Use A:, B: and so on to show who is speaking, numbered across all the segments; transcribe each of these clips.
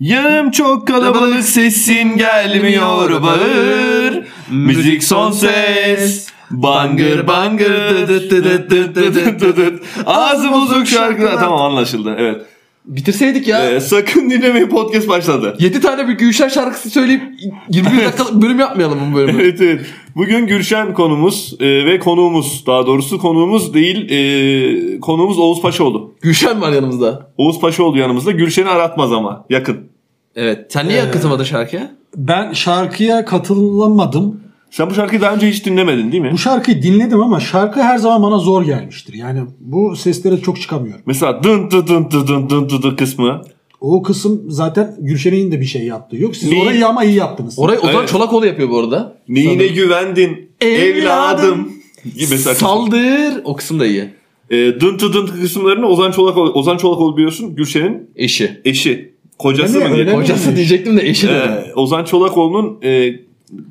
A: Yağım çok kalabalık sesin gelmiyor bağır. Müzik son ses. Bangır bangır dıdıt dıdıt dıdıt dıdıt dıdıt. Ağzı bozuk şarkılar. Tamam anlaşıldı evet.
B: Bitirseydik ya.
A: Ee, sakın dinlemeyin podcast başladı.
B: 7 tane bir Gülşen şarkısı söyleyip 21 dakikalık bölüm yapmayalım bu bölümü.
A: Evet evet. Bugün Gülşen konumuz e, ve konuğumuz daha doğrusu konuğumuz değil e, konuğumuz Oğuz Paşaoğlu.
B: Gülşen var yanımızda.
A: Oğuz Paşaoğlu yanımızda Gülşen'i aratmaz ama yakın.
B: Evet. Sen
A: Ee,
B: niye katıldın şarkıya?
C: Ben şarkıya katılamadım.
A: Sen bu şarkıyı daha önce hiç dinlemedin değil mi?
C: Bu şarkıyı dinledim ama şarkı her zaman bana zor gelmiştir. Yani bu seslere çok çıkamıyorum.
A: Mesela dın dı dın dı dın dın dı dı kısmı.
C: O kısım zaten Gülşen'in de bir şey yaptığı yok. Siz
A: Neyi-
C: orayı ama iyi yaptınız.
B: Orayı Ozan
A: Evet.
B: Çolakoğlu yapıyor bu arada.
A: Neyine güvendin evladım.
B: Evladım.
A: gibi Mesela kısmı.
B: Saldır. O kısım da iyi.
A: e, dın tı dın tı kısımlarını Ozan Çolakoğlu, Ozan Çolakoğlu biliyorsun Gülşen'in
B: Eşi.
A: eşi. Kocası
C: Öyle
A: mı?
C: mi?
A: diye.
C: Öyle mi?
B: Kocası diyecektim de eşi dedim.
A: E, Ozan Çolakoğlu'nun e,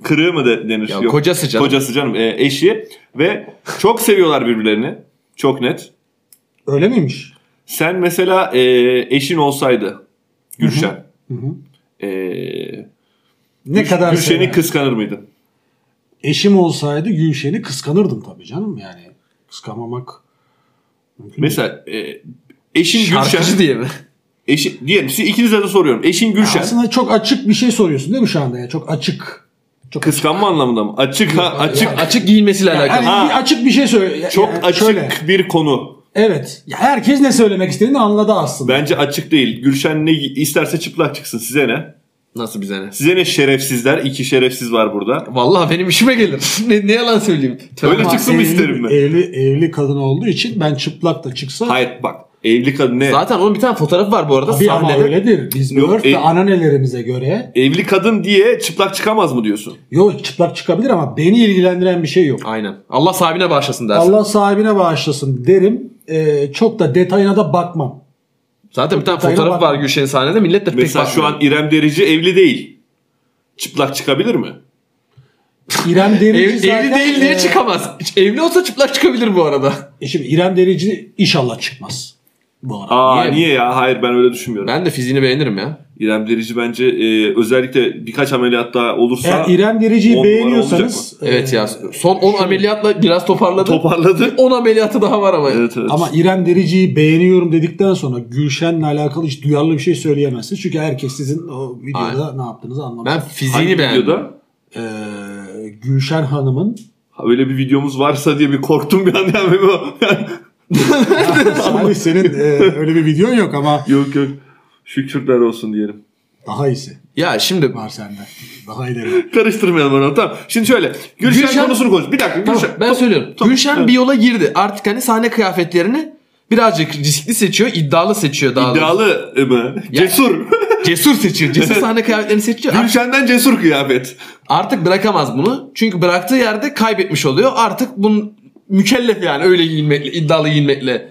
A: kırığı mı de, denir?
B: Ya
A: Yok.
B: kocası canım.
A: Kocası canım e, eşi ve çok seviyorlar birbirlerini. Çok net.
C: Öyle miymiş?
A: Sen mesela e, eşin olsaydı Gülşen.
C: Hı hı.
A: e,
C: Ne
A: Gül-
C: kadar
A: Gülşen'i
C: sever.
A: kıskanır mıydın?
C: Eşim olsaydı Gülşen'i kıskanırdım tabii canım yani. Kıskanmamak mümkün değil.
A: Mesela e, eşin Gülşen.
B: Şarkıcı diye mi?
A: Eşi, diyelim size ikinize de soruyorum. Eşin Gülşen.
C: Aslında çok açık bir şey soruyorsun değil mi şu anda ya? Çok açık. Çok
A: Kıskanma anlamında mı? Açık ha, açık.
B: Açık giyinmesiyle alakalı.
C: Yani
A: Ha.
C: bir açık bir şey söyle.
A: Çok
C: yani
A: açık
C: şöyle.
A: bir konu.
C: Evet. Ya herkes ne söylemek istediğini anladı aslında.
A: Bence açık değil. Gülşen ne isterse çıplak çıksın. Size ne?
B: Nasıl bize ne?
A: Size ne şerefsizler? İki şerefsiz var burada.
B: Vallahi benim işime gelir. ne, ne yalan söyleyeyim. Tövbe
A: Öyle
B: var.
A: çıksın mı isterim ben?
C: Evli, evli kadın olduğu için ben çıplak da çıksa
A: Hayır bak. Evli kadın ne?
B: Zaten onun bir tane fotoğrafı var bu arada.
C: bir ama
B: sahnede.
C: öyledir. Biz
A: Yok,
C: örf ve
A: e-
C: ananelerimize göre
A: Evli kadın diye çıplak çıkamaz mı diyorsun?
C: yok çıplak çıkabilir ama beni ilgilendiren bir şey yok.
B: Aynen. Allah sahibine bağışlasın dersin.
C: Allah sahibine bağışlasın derim. Ee, çok da detayına da bakmam.
B: Zaten bir tane
C: Detayına
B: fotoğraf
C: bakma.
B: var Gülşen'in sahnede. Millet de pek
A: Mesela
B: bakmıyor.
A: şu an İrem Derici evli değil. Çıplak çıkabilir mi?
C: İrem Derici
B: Ev-
C: zaten,
B: evli değil diye
C: e,
B: çıkamaz. Evli olsa çıplak çıkabilir bu arada.
C: e şimdi İrem Derici inşallah çıkmaz. Bu arada.
A: Aa
B: Niye?
A: niye, ya? Hayır ben öyle düşünmüyorum.
B: Ben de fiziğini beğenirim ya.
A: İrem Derici bence e, özellikle birkaç ameliyat daha olursa
C: Eğer İrem Derici'yi
A: on numara
C: beğeniyorsanız
B: Evet
C: e,
B: ya. Son 10 ameliyatla biraz toparladı.
A: toparladı.
B: 10 ameliyatı daha var ama.
A: Evet, evet.
C: Ama İrem Derici'yi beğeniyorum dedikten sonra Gülşen'le alakalı hiç duyarlı bir şey söyleyemezsiniz. Çünkü herkes sizin o videoda ne yaptığınızı
B: Ben
C: anlamıyor.
B: fiziğini
A: Hangi
B: beğendim.
A: videoda?
C: Ee, Gülşen Hanım'ın
A: Ha, Öyle bir videomuz varsa diye bir korktum bir an. Yani bu-
C: Abi senin e, öyle bir videon yok ama
A: yok yok. Şükürler olsun diyelim.
C: daha iyisi
B: Ya şimdi
C: var sende. Daha ileri.
A: Karıştırmayalım onu. Tamam. Şimdi şöyle. Gülşen,
B: Gülşen-
A: konusunu konuş. Bir dakika
B: Tamam,
A: Gülşen.
B: ben söylüyorum.
A: tamam,
B: Gülşen
A: evet.
B: bir yola girdi. Artık hani sahne kıyafetlerini birazcık riskli seçiyor, iddialı seçiyor daha doğrusu.
A: İddialı mı?
B: Ya-
A: Cesur.
B: Cesur seçiyor. Cesur sahne kıyafetlerini seçiyor. Artık,
A: Gülşen'den cesur kıyafet.
B: artık bırakamaz bunu. Çünkü bıraktığı yerde kaybetmiş oluyor. Artık bunun mükellef yani öyle giyinmekle, iddialı giyinmekle.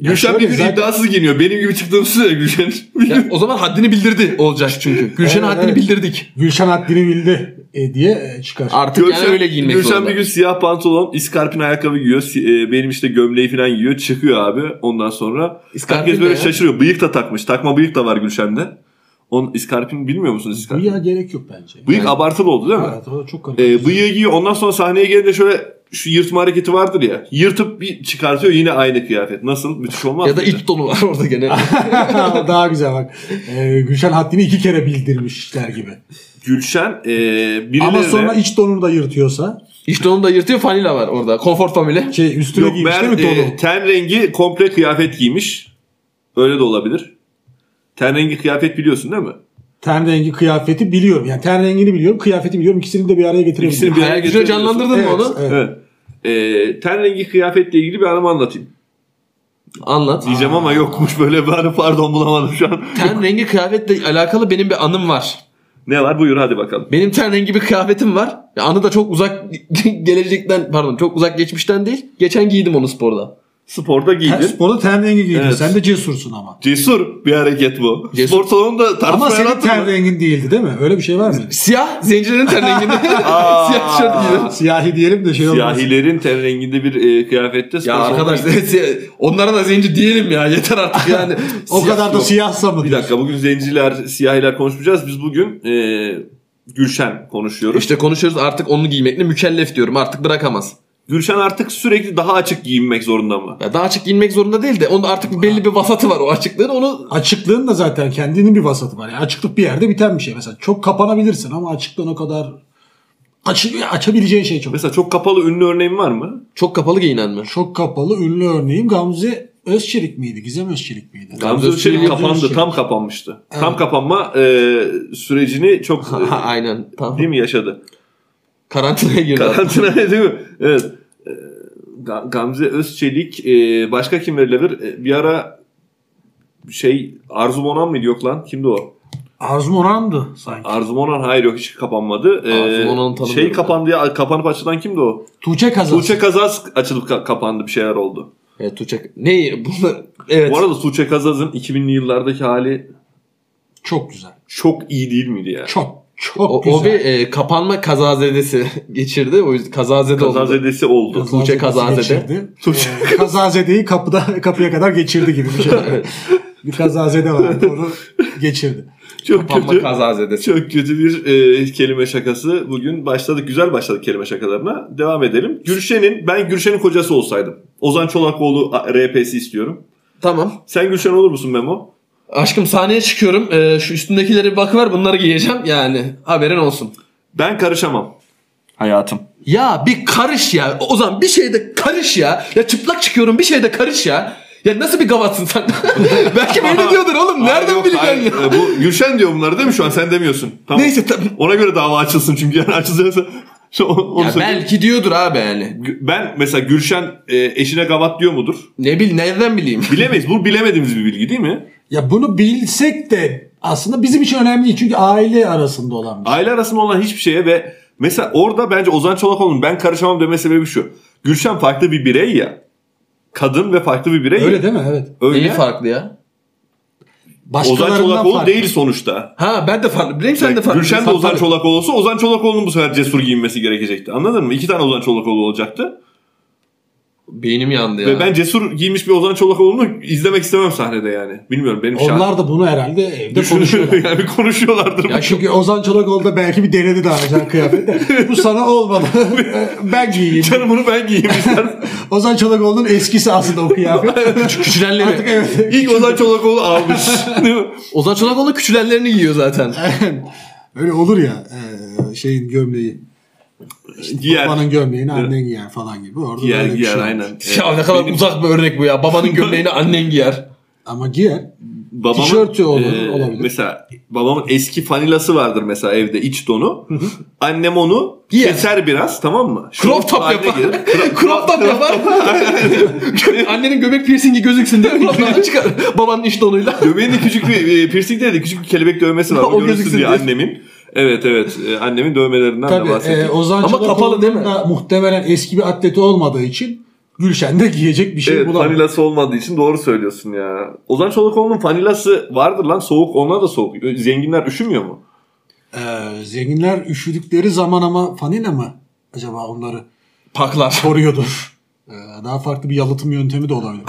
A: Gülşen
C: şöyle
A: bir gün
C: zaten-
A: iddiasız giyiniyor. Benim gibi çıktığım size Gülşen.
B: Ya, o zaman haddini bildirdi olacak çünkü. Gülşen'e
C: Evet,
B: haddini
C: evet.
B: bildirdik.
C: Gülşen haddini bildi e, diye e, çıkar.
B: Artık yani öyle giyinmek
A: Gülşen
B: zorunda.
A: bir gün siyah pantolon, iskarpin ayakkabı giyiyor. si- e, benim işte gömleği falan giyiyor. Çıkıyor abi ondan sonra.
B: İskarpin
A: Herkes
B: ne
A: böyle
B: ya?
A: şaşırıyor. Bıyık da takmış. Takma bıyık da var Gülşen'de. Onun iskarpin bilmiyor musunuz
C: Bu
A: iskarpin?
C: ya gerek yok bence.
A: Bıyık abartılı oldu değil mi?
C: Evet, o çok garip.
A: E, bıyığı giyiyor. Ondan sonra sahneye gelince şöyle şu yırtma hareketi vardır ya. Yırtıp bir çıkartıyor yine aynı kıyafet. Nasıl? Müthiş olmaz
B: Ya da
A: mıydı?
B: iç donu var orada gene.
C: Daha güzel bak. E, Gülşen haddini iki kere bildirmişler gibi.
A: Gülşen e,
C: Ama
A: birilerine-
C: sonra iç donunu da yırtıyorsa
B: iç donunu da yırtıyor, fanila var orada. Konfor family.
C: şey üstüne
A: Yok
C: giymiş değil
A: meğer
C: mi donu?
A: e, ten rengi komple kıyafet giymiş. Öyle de olabilir. Ten rengi kıyafet biliyorsun değil mi?
C: Ten rengi kıyafeti biliyorum. Yani ten rengini biliyorum, kıyafeti biliyorum. İkisini de bir araya getirebilirim.
A: İkisini bir araya
B: Hayal gücüyle
A: getiriyorsun.
B: canlandırdın
C: Evet,
B: mı onu?
C: evet.
A: Evet. E, ten rengi kıyafetle ilgili bir anımı anlatayım.
B: Anlat.
A: Diyeceğim ama yokmuş böyle bir anı pardon bulamadım şu an.
B: Ten rengi kıyafetle alakalı benim bir anım var.
A: ne var buyur hadi bakalım.
B: Benim ten rengi bir kıyafetim var. Ya Anı da çok uzak gelecekten pardon çok uzak geçmişten değil. Geçen giydim onu sporda.
A: Sporda giydin.
C: Her sporda ten rengi giydin.
A: Evet.
C: Sen de cesursun ama.
A: Cesur bir hareket bu.
B: Cesur.
A: Spor salonunda tartışma
C: Ama senin
A: yarattı
C: ten
A: mı?
C: rengin değildi değil mi? Öyle bir şey var mı?
B: Siyah zencilerin ten renginde.
A: Aa.
B: Siyah tişört giydim.
C: Siyahi diyelim de şey olmaz.
A: Siyahilerin ten renginde bir e, kıyafette spor
B: Ya
A: salonunda
B: arkadaş onlara da zenci diyelim ya yeter artık yani.
C: O
B: Siyah
C: kadar da
B: yok.
C: siyahsa mı?
A: Bir dakika bugün zenciler, siyahiler konuşmayacağız. Biz bugün e, Gülşen konuşuyoruz.
B: İşte konuşuyoruz artık onu giymekle mükellef diyorum artık bırakamaz.
A: Gülşen artık sürekli daha açık giyinmek zorunda mı?
B: Ya daha açık giyinmek zorunda değil de onun artık belli bir vasatı var o açıklığın onu
C: Açıklığın da zaten kendinin bir vasatı var. Yani açıklık bir yerde biten bir şey. Mesela çok kapanabilirsin ama açıklığın o kadar açı, açabileceğin şey çok.
A: Mesela çok kapalı ünlü örneğin var mı?
B: çok kapalı giyinen mi?
C: Çok kapalı ünlü örneğim Gamze Özçelik miydi? Gizem Özçelik miydi?
A: Gamze
B: Özçelik
A: Özçelik kapandı.
C: Özçelik.
A: Tam kapanmıştı. Tam
C: Evet.
A: kapanma e, sürecini çok
B: Ha, Aynen tamam.
A: e, değil mi yaşadı?
B: Karantinaya girdi. adam.
A: Karantina değil mi? Evet. E, Ga- Gamze Özçelik e, başka kim verilebilir? E, bir ara şey Arzu Monan mıydı yok lan? Kimdi o?
C: Arzu Moran'dı sanki.
A: Arzu Monan hayır yok hiç kapanmadı. E,
B: Arzu Monan'ı tanımıyorum
A: şey
B: ben.
A: kapandı ya kapanıp açılan kimdi o?
C: Tuğçe Kazan.
A: Tuğçe Kazaz açılıp ka- kapandı bir şeyler oldu.
B: Evet Tuğçe. Ne? Bunlar... Evet.
A: Bu arada Tuğçe Kazaz'ın 2000'li yıllardaki hali
C: Çok güzel.
A: çok iyi değil miydi ya?
C: Çok çok
B: o,
C: güzel.
B: o bir e, kapanma kazazedesi geçirdi. O yüzden kazazede oldu.
A: Kazazedesi oldu.
C: Kazazedesi
B: Tuğçe Kazazede.
C: geçirdi.
A: Tuğçe-
C: Ee, Kazazede'yi kapıda kapıya kadar geçirdi gibi bir şey.
B: Evet.
C: bir Kazazede vardı onu geçirdi.
A: Çok
B: Kapanma
A: kötü.
B: kazazedesi.
A: Çok kötü bir e, kelime şakası. Bugün başladık. Güzel başladık kelime şakalarına. Devam edelim. Gülşen'in, ben Gülşen'in kocası olsaydım. Ozan Çolakoğlu a- RP'si istiyorum.
B: Tamam.
A: Sen Gülşen olur musun Memo?
B: Aşkım sahneye çıkıyorum. E, şu üstündekilere bir bakıver bunları giyeceğim. Yani haberin olsun.
A: Ben karışamam. Hayatım.
B: Ya bir karış ya. O zaman bir şeyde karış ya. Ya çıplak çıkıyorum bir şeyde karış ya. Ya nasıl bir gavatsın sen? Belki böyle diyordur oğlum. Nereden bileceksin ya?
A: bu Gülşen diyor bunları değil mi şu an? Sen demiyorsun. e, Tamam.
B: Neyse tabii.
A: Ona göre dava açılsın çünkü yani açılacaksa. Şu- onu
B: Ya
A: söyleyeyim.
B: belki diyordur abi yani.
A: Gü- Ben mesela Gülşen e, eşine gavat diyor mudur?
B: Ne bil nereden bileyim?
A: Bilemeyiz. Bu bilemediğimiz bir bilgi değil mi?
C: Ya bunu bilsek de aslında bizim için önemli değil. Çünkü aile arasında olan bir şey.
A: Aile arasında olan hiçbir şeye ve mesela orada bence Ozan Çolakoğlu'nun ben karışamam deme sebebi şu. Gülşen farklı bir birey ya. Kadın ve farklı bir birey.
C: Öyle
A: ya.
C: değil mi? Evet.
A: Öyle.
B: Neyi farklı ya?
A: Ozan
C: Başkalarından
A: Çolakoğlu
C: farklı.
A: değil sonuçta.
B: Ha ben de farklı. Bileyim sen de farklı.
A: Gülşen de
B: Sen
A: Ozan
B: tabii.
A: Çolakoğlu olsa Ozan Çolakoğlu'nun bu sefer cesur giyinmesi gerekecekti. Anladın mı? İki tane Ozan Çolakoğlu olacaktı.
B: Beynim yandı ya.
A: Ve ben cesur giymiş bir Ozan Çolakoğlu'nu izlemek istemem sahnede yani. Bilmiyorum benim şahsen.
C: Onlar da bunu herhalde evde konuşuyorlar.
A: Düşünüyorum yani bir konuşuyorlardır.
B: Ya şu
C: Çünkü Ozan Çolakoğlu da belki bir denedi daha önce kıyafetle. Bu sana olmadı. ben giyeyim.
A: Canım bunu ben giyeyim istersen.
C: Ozan Çolakoğlu'nun eskisi aslında o kıyafet.
B: küçük küçülenleri.
C: Artık evet.
A: İlk Ozan Çolakoğlu almış. Değil mi?
B: Ozan Çolakoğlu küçülenlerini giyiyor zaten.
C: Öyle olur ya eee, şeyin gömleği.
A: Giyer.
C: Babanın gömleğini annen giyer falan gibi. Orada
A: Giyer
C: böyle bir
A: giyer
C: şey var.
A: aynen.
B: ya ne kadar uzak bir örnek bu ya. Babanın gömleğini annen giyer.
C: Ama giyer.
A: babamın,
C: Tişörtü olur,
A: e,
C: olabilir.
A: Mesela babamın eski fanilası vardır mesela evde iç donu. Annem onu
B: Giyer.
A: keser biraz tamam mı?
B: Crop top
A: haline
B: yapar.
A: gelir. Crop-
B: Crop top yapar. Gö- Annenin göbek piercingi gözüksün diye crop top'u çıkar. Babanın iş donuyla.
A: Göbeğinde küçük bir e, piercing değil de küçük bir kelebek dövmesi var.
B: O
A: o görünsün
B: gözüksün
A: diye
B: diye. e,
A: annemin. Evet evet E, annemin dövmelerinden
C: Tabii
A: de bahsettik.
C: eee, Ozan
B: Ama kapalı değil mi?
C: Çolakoğlu'nun da muhtemelen eski bir atleti olmadığı için Gülşen de giyecek bir şey
A: Evet
C: bulamıyor.
A: fanilası olmadığı için doğru söylüyorsun ya. Ozan Çolakoğlu'nun fanilası vardır lan soğuk onlar da soğuk. Ö, Zenginler üşümüyor mu?
C: Eee, E, zenginler üşüdükleri zaman ama fanina mı acaba onları
B: Paklar.
C: koruyordur? Eee, daha farklı bir yalıtım yöntemi de olabilir.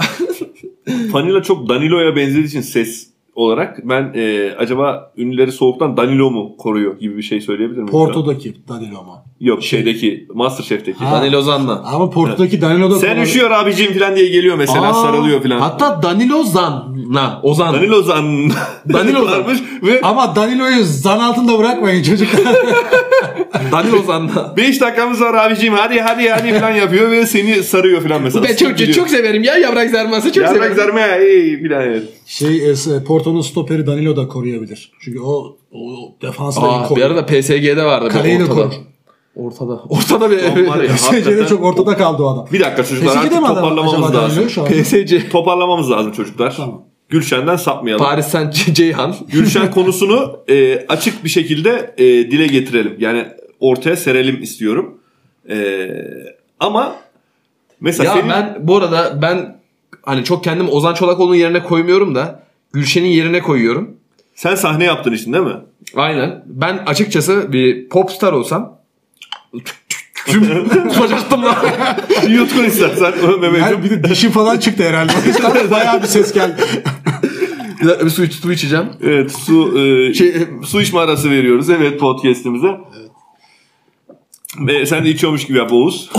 A: Fanila çok Danilo'ya benzediği için ses olarak ben e, acaba ünlüleri soğuktan Danilo mu koruyor gibi bir şey söyleyebilir miyim?
C: Porto'daki Danilo mu?
A: Yok şeydeki Masterchef'teki.
C: Ha.
B: Daniel Ozan'la.
C: Ama Porto'daki Danilo da
A: Sen
C: kolay-
A: üşüyor abicim falan diye geliyor mesela
C: Aa,
A: sarılıyor falan.
B: Hatta Danilo Zan'la. Ozan.
A: Danilo zan
B: Danilo
A: varmış ve
C: Ama Danilo'yu zan altında bırakmayın çocuklar.
B: Danilo Zan'la.
A: 5 dakikamız var abicim hadi hadi hadi falan yapıyor ve seni sarıyor falan mesela.
B: Ben çok, çok, çok severim ya Yaprak Zermas'ı çok
A: Yarmak
B: severim.
A: zarma ey falan evet.
C: şey e, Porto'nun stoperi Danilo da koruyabilir. Çünkü o, o defansı da iyi
B: Aa, bir
C: koruyor.
B: arada PSG'de vardı.
C: Kaleyi de
B: ortada.
C: korur.
B: Ortada. Ortada
A: Lan var
B: bir...
A: ya, E, hakikaten-
C: SC'de çok ortada kaldı o adam.
A: Bir dakika çocuklar
C: SC'de
A: artık
C: mi adam
A: toparlamamız
C: acaba Danilo
A: lazım.
C: şu an?
B: PSC.
A: Toparlamamız lazım çocuklar.
C: Tamam.
A: Gülşen'den sapmayalım.
B: Paris Saint Ceyhan.
A: Gülşen konusunu e, açık bir şekilde e, dile getirelim. Yani ortaya serelim istiyorum. E, ama mesela
B: Ya
A: senin
B: ben bu arada ben hani çok kendimi Ozan Çolakoğlu'nun yerine koymuyorum da Gülşen'in yerine koyuyorum.
A: Sen sahne yaptın işin değil mi?
B: Aynen. Ben açıkçası bir popstar olsam tutacaktım lan.
A: Yutkun istersen Mehmet'ciğim.
C: Yani bir de dişi falan çıktı herhalde. Bayağı bir ses geldi.
B: Bir dakika, bir su, iç- su içeceğim.
A: Evet su e,
B: Şey,
A: su içme arası veriyoruz evet podcast'imize. Ve sen de içiyormuş gibi yap Oğuz.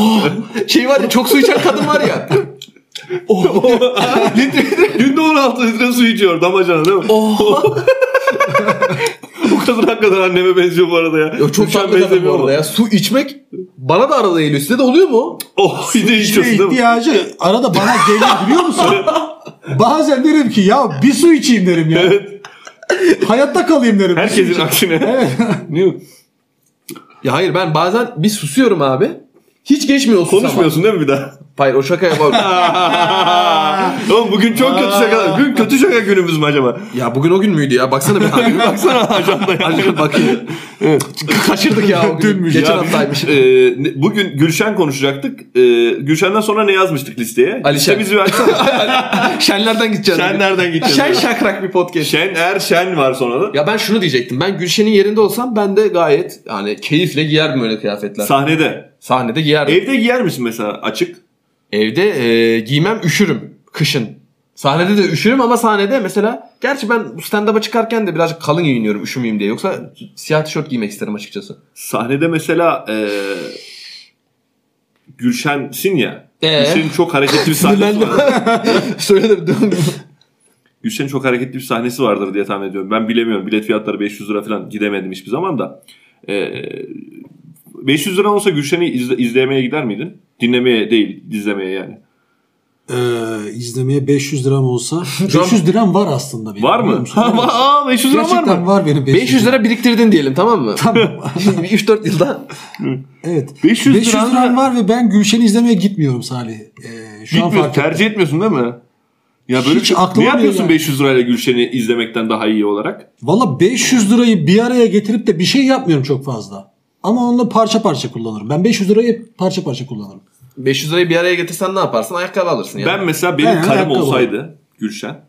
B: şey var ya çok su içen kadın var ya. Oh,
A: Günde 16 litre su içiyor damacana değil mi?
B: oh.
A: Bu kadın hakikaten anneme benziyor bu arada ya.
B: Ya
A: Lütfen
B: çok tatlı kadın bu
A: benzemiyor
B: arada
A: mu?
B: ya. Su içmek bana da arada geliyor. Size de oluyor mu?
A: Oh bir de içiyorsun
B: Şey,
A: değil mi?
C: ihtiyacı arada bana gelir biliyor musun? Bazen derim ki ya bir su içeyim derim ya.
A: Evet.
C: Hayatta kalayım derim. Bir su
A: Herkesin
C: içeyim.
A: aksine.
C: Evet.
A: Niye?
B: Ya hayır ben bazen bir susuyorum abi. Hiç geçmiyor o susama.
A: Konuşmuyorsun değil mi bir daha?
B: Hayır o şaka yapar.
A: Oğlum bugün çok kötü şakalar. Bugün kötü şaka günümüz mü acaba?
B: ya bugün o gün müydü ya? Baksana bir abi.
A: Baksana ajandaya.
B: Azıcık bakayım. Kaçırdık ya o gün.
C: Dünmüş
B: Geçen
A: Ya biz,
B: haftaymış.
A: e, ne- bugün Gülşen konuşacaktık. E, Gülşen'den sonra ne yazmıştık listeye?
B: Alişen.
A: Listemizi versene.
B: Şenlerden gideceğiz.
A: Şen nereden gideceğiz?
B: Şen şakrak bir podcast.
A: Şen Er Şen var sonra da.
B: Ya ben şunu diyecektim. Ben Gülşen'in yerinde olsam ben de gayet yani keyifle giyerdim öyle kıyafetler.
A: Sahnede.
B: Sahnede giyerdim.
A: Evde giyer misin mesela açık?
B: Evde e, giymem üşürüm kışın. Sahnede de üşürüm ama sahnede mesela gerçi ben bu stand-up'a çıkarken de birazcık kalın giyiniyorum üşümeyeyim diye. Yoksa siyah tişört giymek isterim açıkçası.
A: Sahnede mesela e, Gülşen'sin ya.
B: Ee?
A: Gülşen'in çok hareketli bir sahnesi var.
B: Söyle de bir dön.
A: Gülşen'in çok hareketli bir sahnesi vardır diye tahmin ediyorum. Ben bilemiyorum. Bilet fiyatları 500 lira falan gidemedim hiçbir zaman da. Ee, 500 lira olsa Gülşen'i izle- izlemeye gider miydin? Dinlemeye değil, izlemeye yani.
C: Ee, izlemeye 500 liram olsa.
B: Can-
C: 500 liram var aslında. Benim,
A: Var
C: biliyor
A: mı?
C: musun? Evet.
A: Aa 500 lira var
C: Gerçekten
A: mı?
C: var benim 500,
B: 500 lira biriktirdin diyelim tamam mı?
C: Tamam.
B: 3-4 yılda.
C: Evet.
A: 500
C: 500,
A: liram
C: liram
A: var.
C: var ve ben Gülşen'i izlemeye gitmiyorum Salih. Ee, şu an
A: Gitmiyorsun,
C: fark ettim.
A: tercih etmiyorsun değil mi? Ya böyle
C: Hiç
A: bir şey.
C: aklıma
A: Ne
C: bile
A: yapıyorsun
C: gelmedi.
A: 500 lirayla Gülşen'i izlemekten daha iyi olarak?
C: Valla 500 lirayı bir araya getirip de bir şey yapmıyorum çok fazla. Ama onunla parça parça kullanırım. Ben 500 lirayı hep parça parça kullanırım.
B: 500 lirayı bir araya getirsen ne yaparsın? Ayakkabı alırsın ya.
A: Ben mesela benim
C: Ben
A: karım
C: ayakkabı
A: olsaydı Gülşen,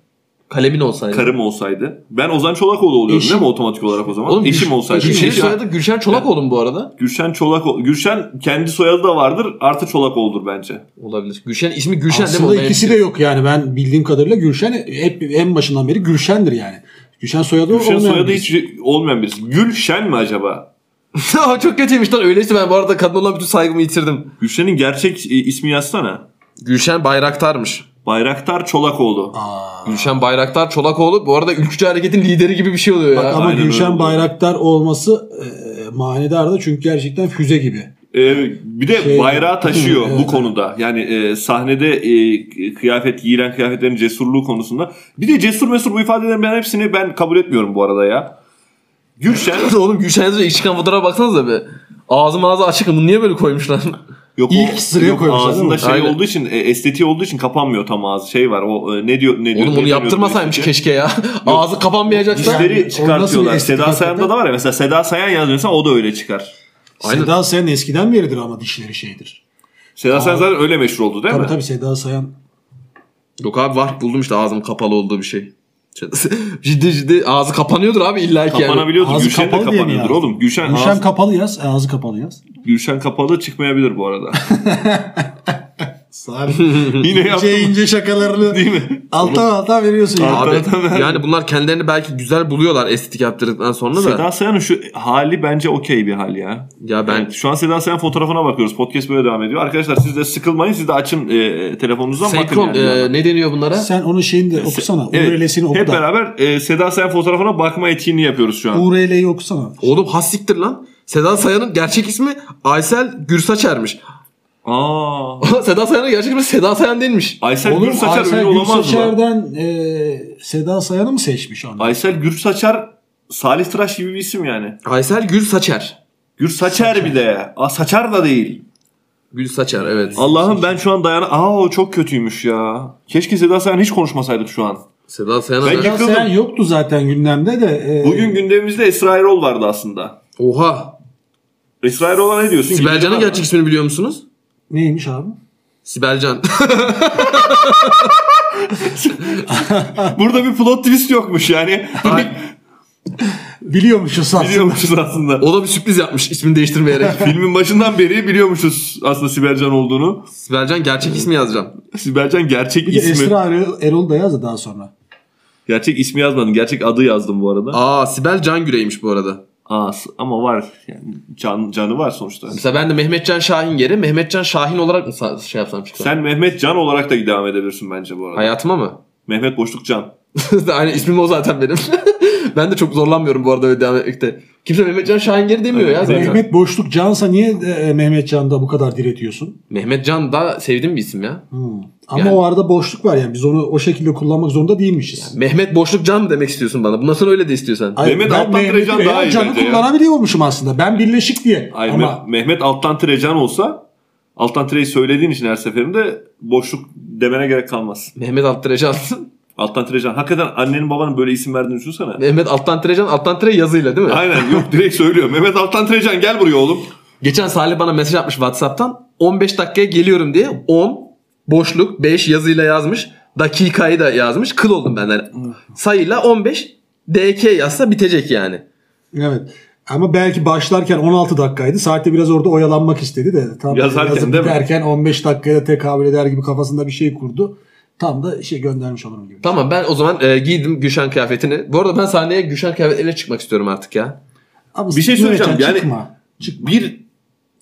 B: Kalemin olsaydı.
A: karım olsaydı. Ben Ozan Çolakoğlu oluyorum
C: Eşim.
A: değil mi otomatik olarak o zaman?
B: Oğlum
A: Eşim
B: Gülş-
A: olsaydı. Şey
B: Gülşen'in
A: Gülşen-
B: soyadı Gülşen Çolakoğlu mu bu arada?
A: Gülşen Çolak Gülşen kendi soyadı da vardır. Artı Çolakoğlu'dur bence.
B: Olabilir. Gülşen ismi
A: şey
B: Gülşen
C: Aslında
B: değil mi?
C: ikisi de yok yani. Ben bildiğim kadarıyla Gülşen hep en başından beri Gülşen'dir yani. Gülşen soyadı
A: Gülşen
C: olmayan
A: soyadı
C: birisi.
A: hiç olmayan birisi. Gülşen mi acaba?
B: Aa, Çok kötüymüş lan öyleyse ben bu arada kadın olan bütün saygımı yitirdim.
A: Gülşen'in gerçek e, ismi yazsana.
B: Gülşen Bayraktar'mış.
A: Bayraktar Çolakoğlu.
C: Aa.
B: Gülşen Bayraktar Çolakoğlu bu arada ülkücü hareketin lideri gibi bir şey oluyor ya.
C: Bak ama
A: aynen öyle
C: Gülşen
A: oldu.
C: Bayraktar olması e, manidar da çünkü gerçekten füze gibi.
A: Ee, bir de
C: Şey-
A: bayrağı taşıyor
C: Hı,
A: bu
C: evet.
A: konuda. Yani e, sahnede e, kıyafet giyilen kıyafetlerin cesurluğu konusunda. Bir de cesur mesur bu ifadelerin ben hepsini ben kabul etmiyorum bu arada ya. Gülşen
B: Oğlum Gülşen Yazıcı ilk çıkan fotoğrafa baksanıza be. Ağzı mağazı açık bunu niye böyle koymuşlar?
A: yok
C: İlk sıraya
A: yok,
C: koymuşlar değil
A: Ağzında
C: mi?
A: şey
B: Aynen.
A: olduğu için e, estetiği olduğu için kapanmıyor tam ağzı. Şey var. O e, ne diyor ne diyor.
B: Oğlum
A: ne
B: onu
A: diyor-
B: yaptırmasaymış
A: estetiği?
B: keşke ya. Ağzı kapanmayacaksa.
C: Dişleri-
A: Dişleri
C: Yani o nasıl
A: çıkartıyorlar.
C: bir
A: Seda
C: estetik
A: Sayan'da da var ya mesela Seda Sayan yazıyorsa o da öyle çıkar.
B: Aynen.
C: Seda Sayan eskiden beridir ama dişleri şeydir.
A: Seda Sayan zaten öyle meşhur oldu değil
C: Tabii
A: mi?
C: tabii Seda Sayan.
B: Yok abi var buldum işte ağzım kapalı olduğu bir şey. ciddi ciddi ağzı kapanıyordur abi illa ki yani.
A: Kapanabiliyordu.
C: Ağzı
A: Gülşen de
C: kapalı diye mi
A: kapanıyordur
C: yazdın?
A: oğlum. Gülşen,
C: Gülşen
A: ağzı-
C: kapalı yaz. e, Ağzı kapalı yaz.
A: Gülşen kapalı çıkmayabilir bu arada. Yine
C: Yine
A: yaptım.
C: ince ince şakalarını
A: Değil mi?
C: alttan alttan veriyorsun ya.
B: Abi
A: Kapanabiliyor.
B: yani bunlar kendilerini belki güzel buluyorlar estetik yaptırdıktan sonra da.
A: Seda Sayan'ın şu hali bence okey bir hal ya.
B: Ya ben
A: Evet, şu an Seda Sayan fotoğrafına bakıyoruz. Podcast böyle devam ediyor. Arkadaşlar siz de sıkılmayın. Siz de açın e, telefonunuzdan
B: Senkron
A: bakın. yani.
B: e, ne deniyor bunlara?
C: Sen onun şeyini de okusana. URL'sini
A: Hep
C: oku da.
A: beraber e, Seda Sayan fotoğrafına bakma etkinliği yapıyoruz şu an.
C: URL'yi okusana.
B: Oğlum hassiktir lan. Seda Sayan'ın gerçek ismi Aysel Gürsaçer'miş.
A: Aa.
B: Seda Sayan'ın gerçek ismi Seda Sayan değilmiş.
A: Aysel
C: Oğlum
A: Gürsaçar
C: Aysel
A: ünlü olamaz mı?
C: Gülsaçer'den e, Seda Sayan'ı mı seçmiş onu?
A: Aysel Gürsaçar Salih Tıraş gibi bir isim yani.
B: Aysel Gürsaçer.
A: Gürsaçer bir de. Aa, saçar da değil.
B: Gülsaçer evet.
A: Allah'ım ben şu an dayan... Aa o çok kötüymüş ya. Keşke Seda Sayan hiç konuşmasaydık şu an.
B: Seda Sayan'a
A: Ben
B: da-
C: Seda
A: yıkıldım.
C: Sayan yoktu zaten gündemde de. e,
A: Bugün gündemimizde Esra Erol vardı aslında.
B: Oha.
A: Esra Erol'a ne diyorsun?
B: Sibel Can'ın
A: Gidelim
B: gerçek ismini biliyor musunuz?
C: neymiş abi?
B: Sibel Can.
A: Burada bir plot twist yokmuş yani.
C: Biliyormuşuz aslında.
A: Biliyormuşuz aslında.
B: O da bir sürpriz yapmış ismini değiştirmeyerek.
A: Filmin başından beri biliyormuşuz aslında Sibelcan olduğunu.
B: Sibelcan gerçek ismi yazacağım.
A: Sibelcan gerçek
C: Bir de
A: ismi.
C: Esra Erol, Erol da yazdı daha sonra.
A: Gerçek ismi yazmadım. Gerçek adı yazdım bu arada.
B: Aa Sibel Can Gürey'miş bu arada.
A: Aa, s- ama var. Yani can, canı var sonuçta.
B: Mesela ben de Mehmetcan Şahin yeri Mehmetcan Şahin olarak mı sa- şey yapsam çıkar?
A: Sen Mehmet Can olarak da devam edebilirsin bence bu arada.
B: Hayatıma mı?
A: Mehmet Boşluk Can.
B: Aynen ismim o zaten benim. ben de çok zorlanmıyorum bu arada öyle devam etmekte. Kimse Mehmetcan Şahin yeri demiyor ya zaten. Mehmet...
C: Mehmet Boşluk Cansa niye e, Mehmet Can'da bu kadar diretiyorsun?
B: Can da sevdiğim bir isim ya.
C: Hmm. Ama
B: Yani-
C: o arada boşluk var yani biz onu o şekilde kullanmak zorunda değilmişiz.
B: Mehmet Boşluk Can mı demek istiyorsun bana? Bundan sonra öyle de istiyorsan.
C: Hayır,
A: Mehmet
C: ben
A: Altan Tiracan
C: Mehmet
A: daha iyi
C: Can'ı
A: bence ya.
C: kullanabiliyormuşum aslında. Ben birleşik diye.
A: Hayır,
C: Ama
A: Me- Mehmet Alttan Tire Can olsa Alttan Tire'yi söylediğin için her seferinde boşluk demene gerek kalmaz.
B: Mehmet Altırecan.
A: Alttan Tire Can. Hakikaten annenin babanın böyle isim verdiğini düşünsene.
B: Mehmet Alttan Tirecan. Alttan Tire yazıyla değil mi?
A: Aynen yok direkt söylüyor. Mehmet Altan Tirecan gel buraya oğlum.
B: Geçen Salih bana mesaj atmış WhatsApp'tan. 15 dakikaya geliyorum diye 10 boşluk 5 yazıyla yazmış. Dakikayı da yazmış. Kıl oldum benden. Sayıyla 15 DK yazsa bitecek yani.
C: evet. Ama belki başlarken 16 dakikaydı. Saatte biraz orada oyalanmak istedi de. Tam
A: Yazarken
C: yazıp
A: değil mi?
C: biterken 15 dakikaya tekabül eder gibi kafasında bir şey kurdu. Tam da şey göndermiş olurum gibi.
B: Tamam ben o zaman e, giydim Gülşen kıyafetini. Bu arada ben sahneye Gülşen kıyafetiyle çıkmak istiyorum artık ya.
C: Ama
A: Bir şey
C: Mehmet
A: söyleyeceğim,
C: Can
A: yani-
C: Çıkma. Çıkma.
A: Bir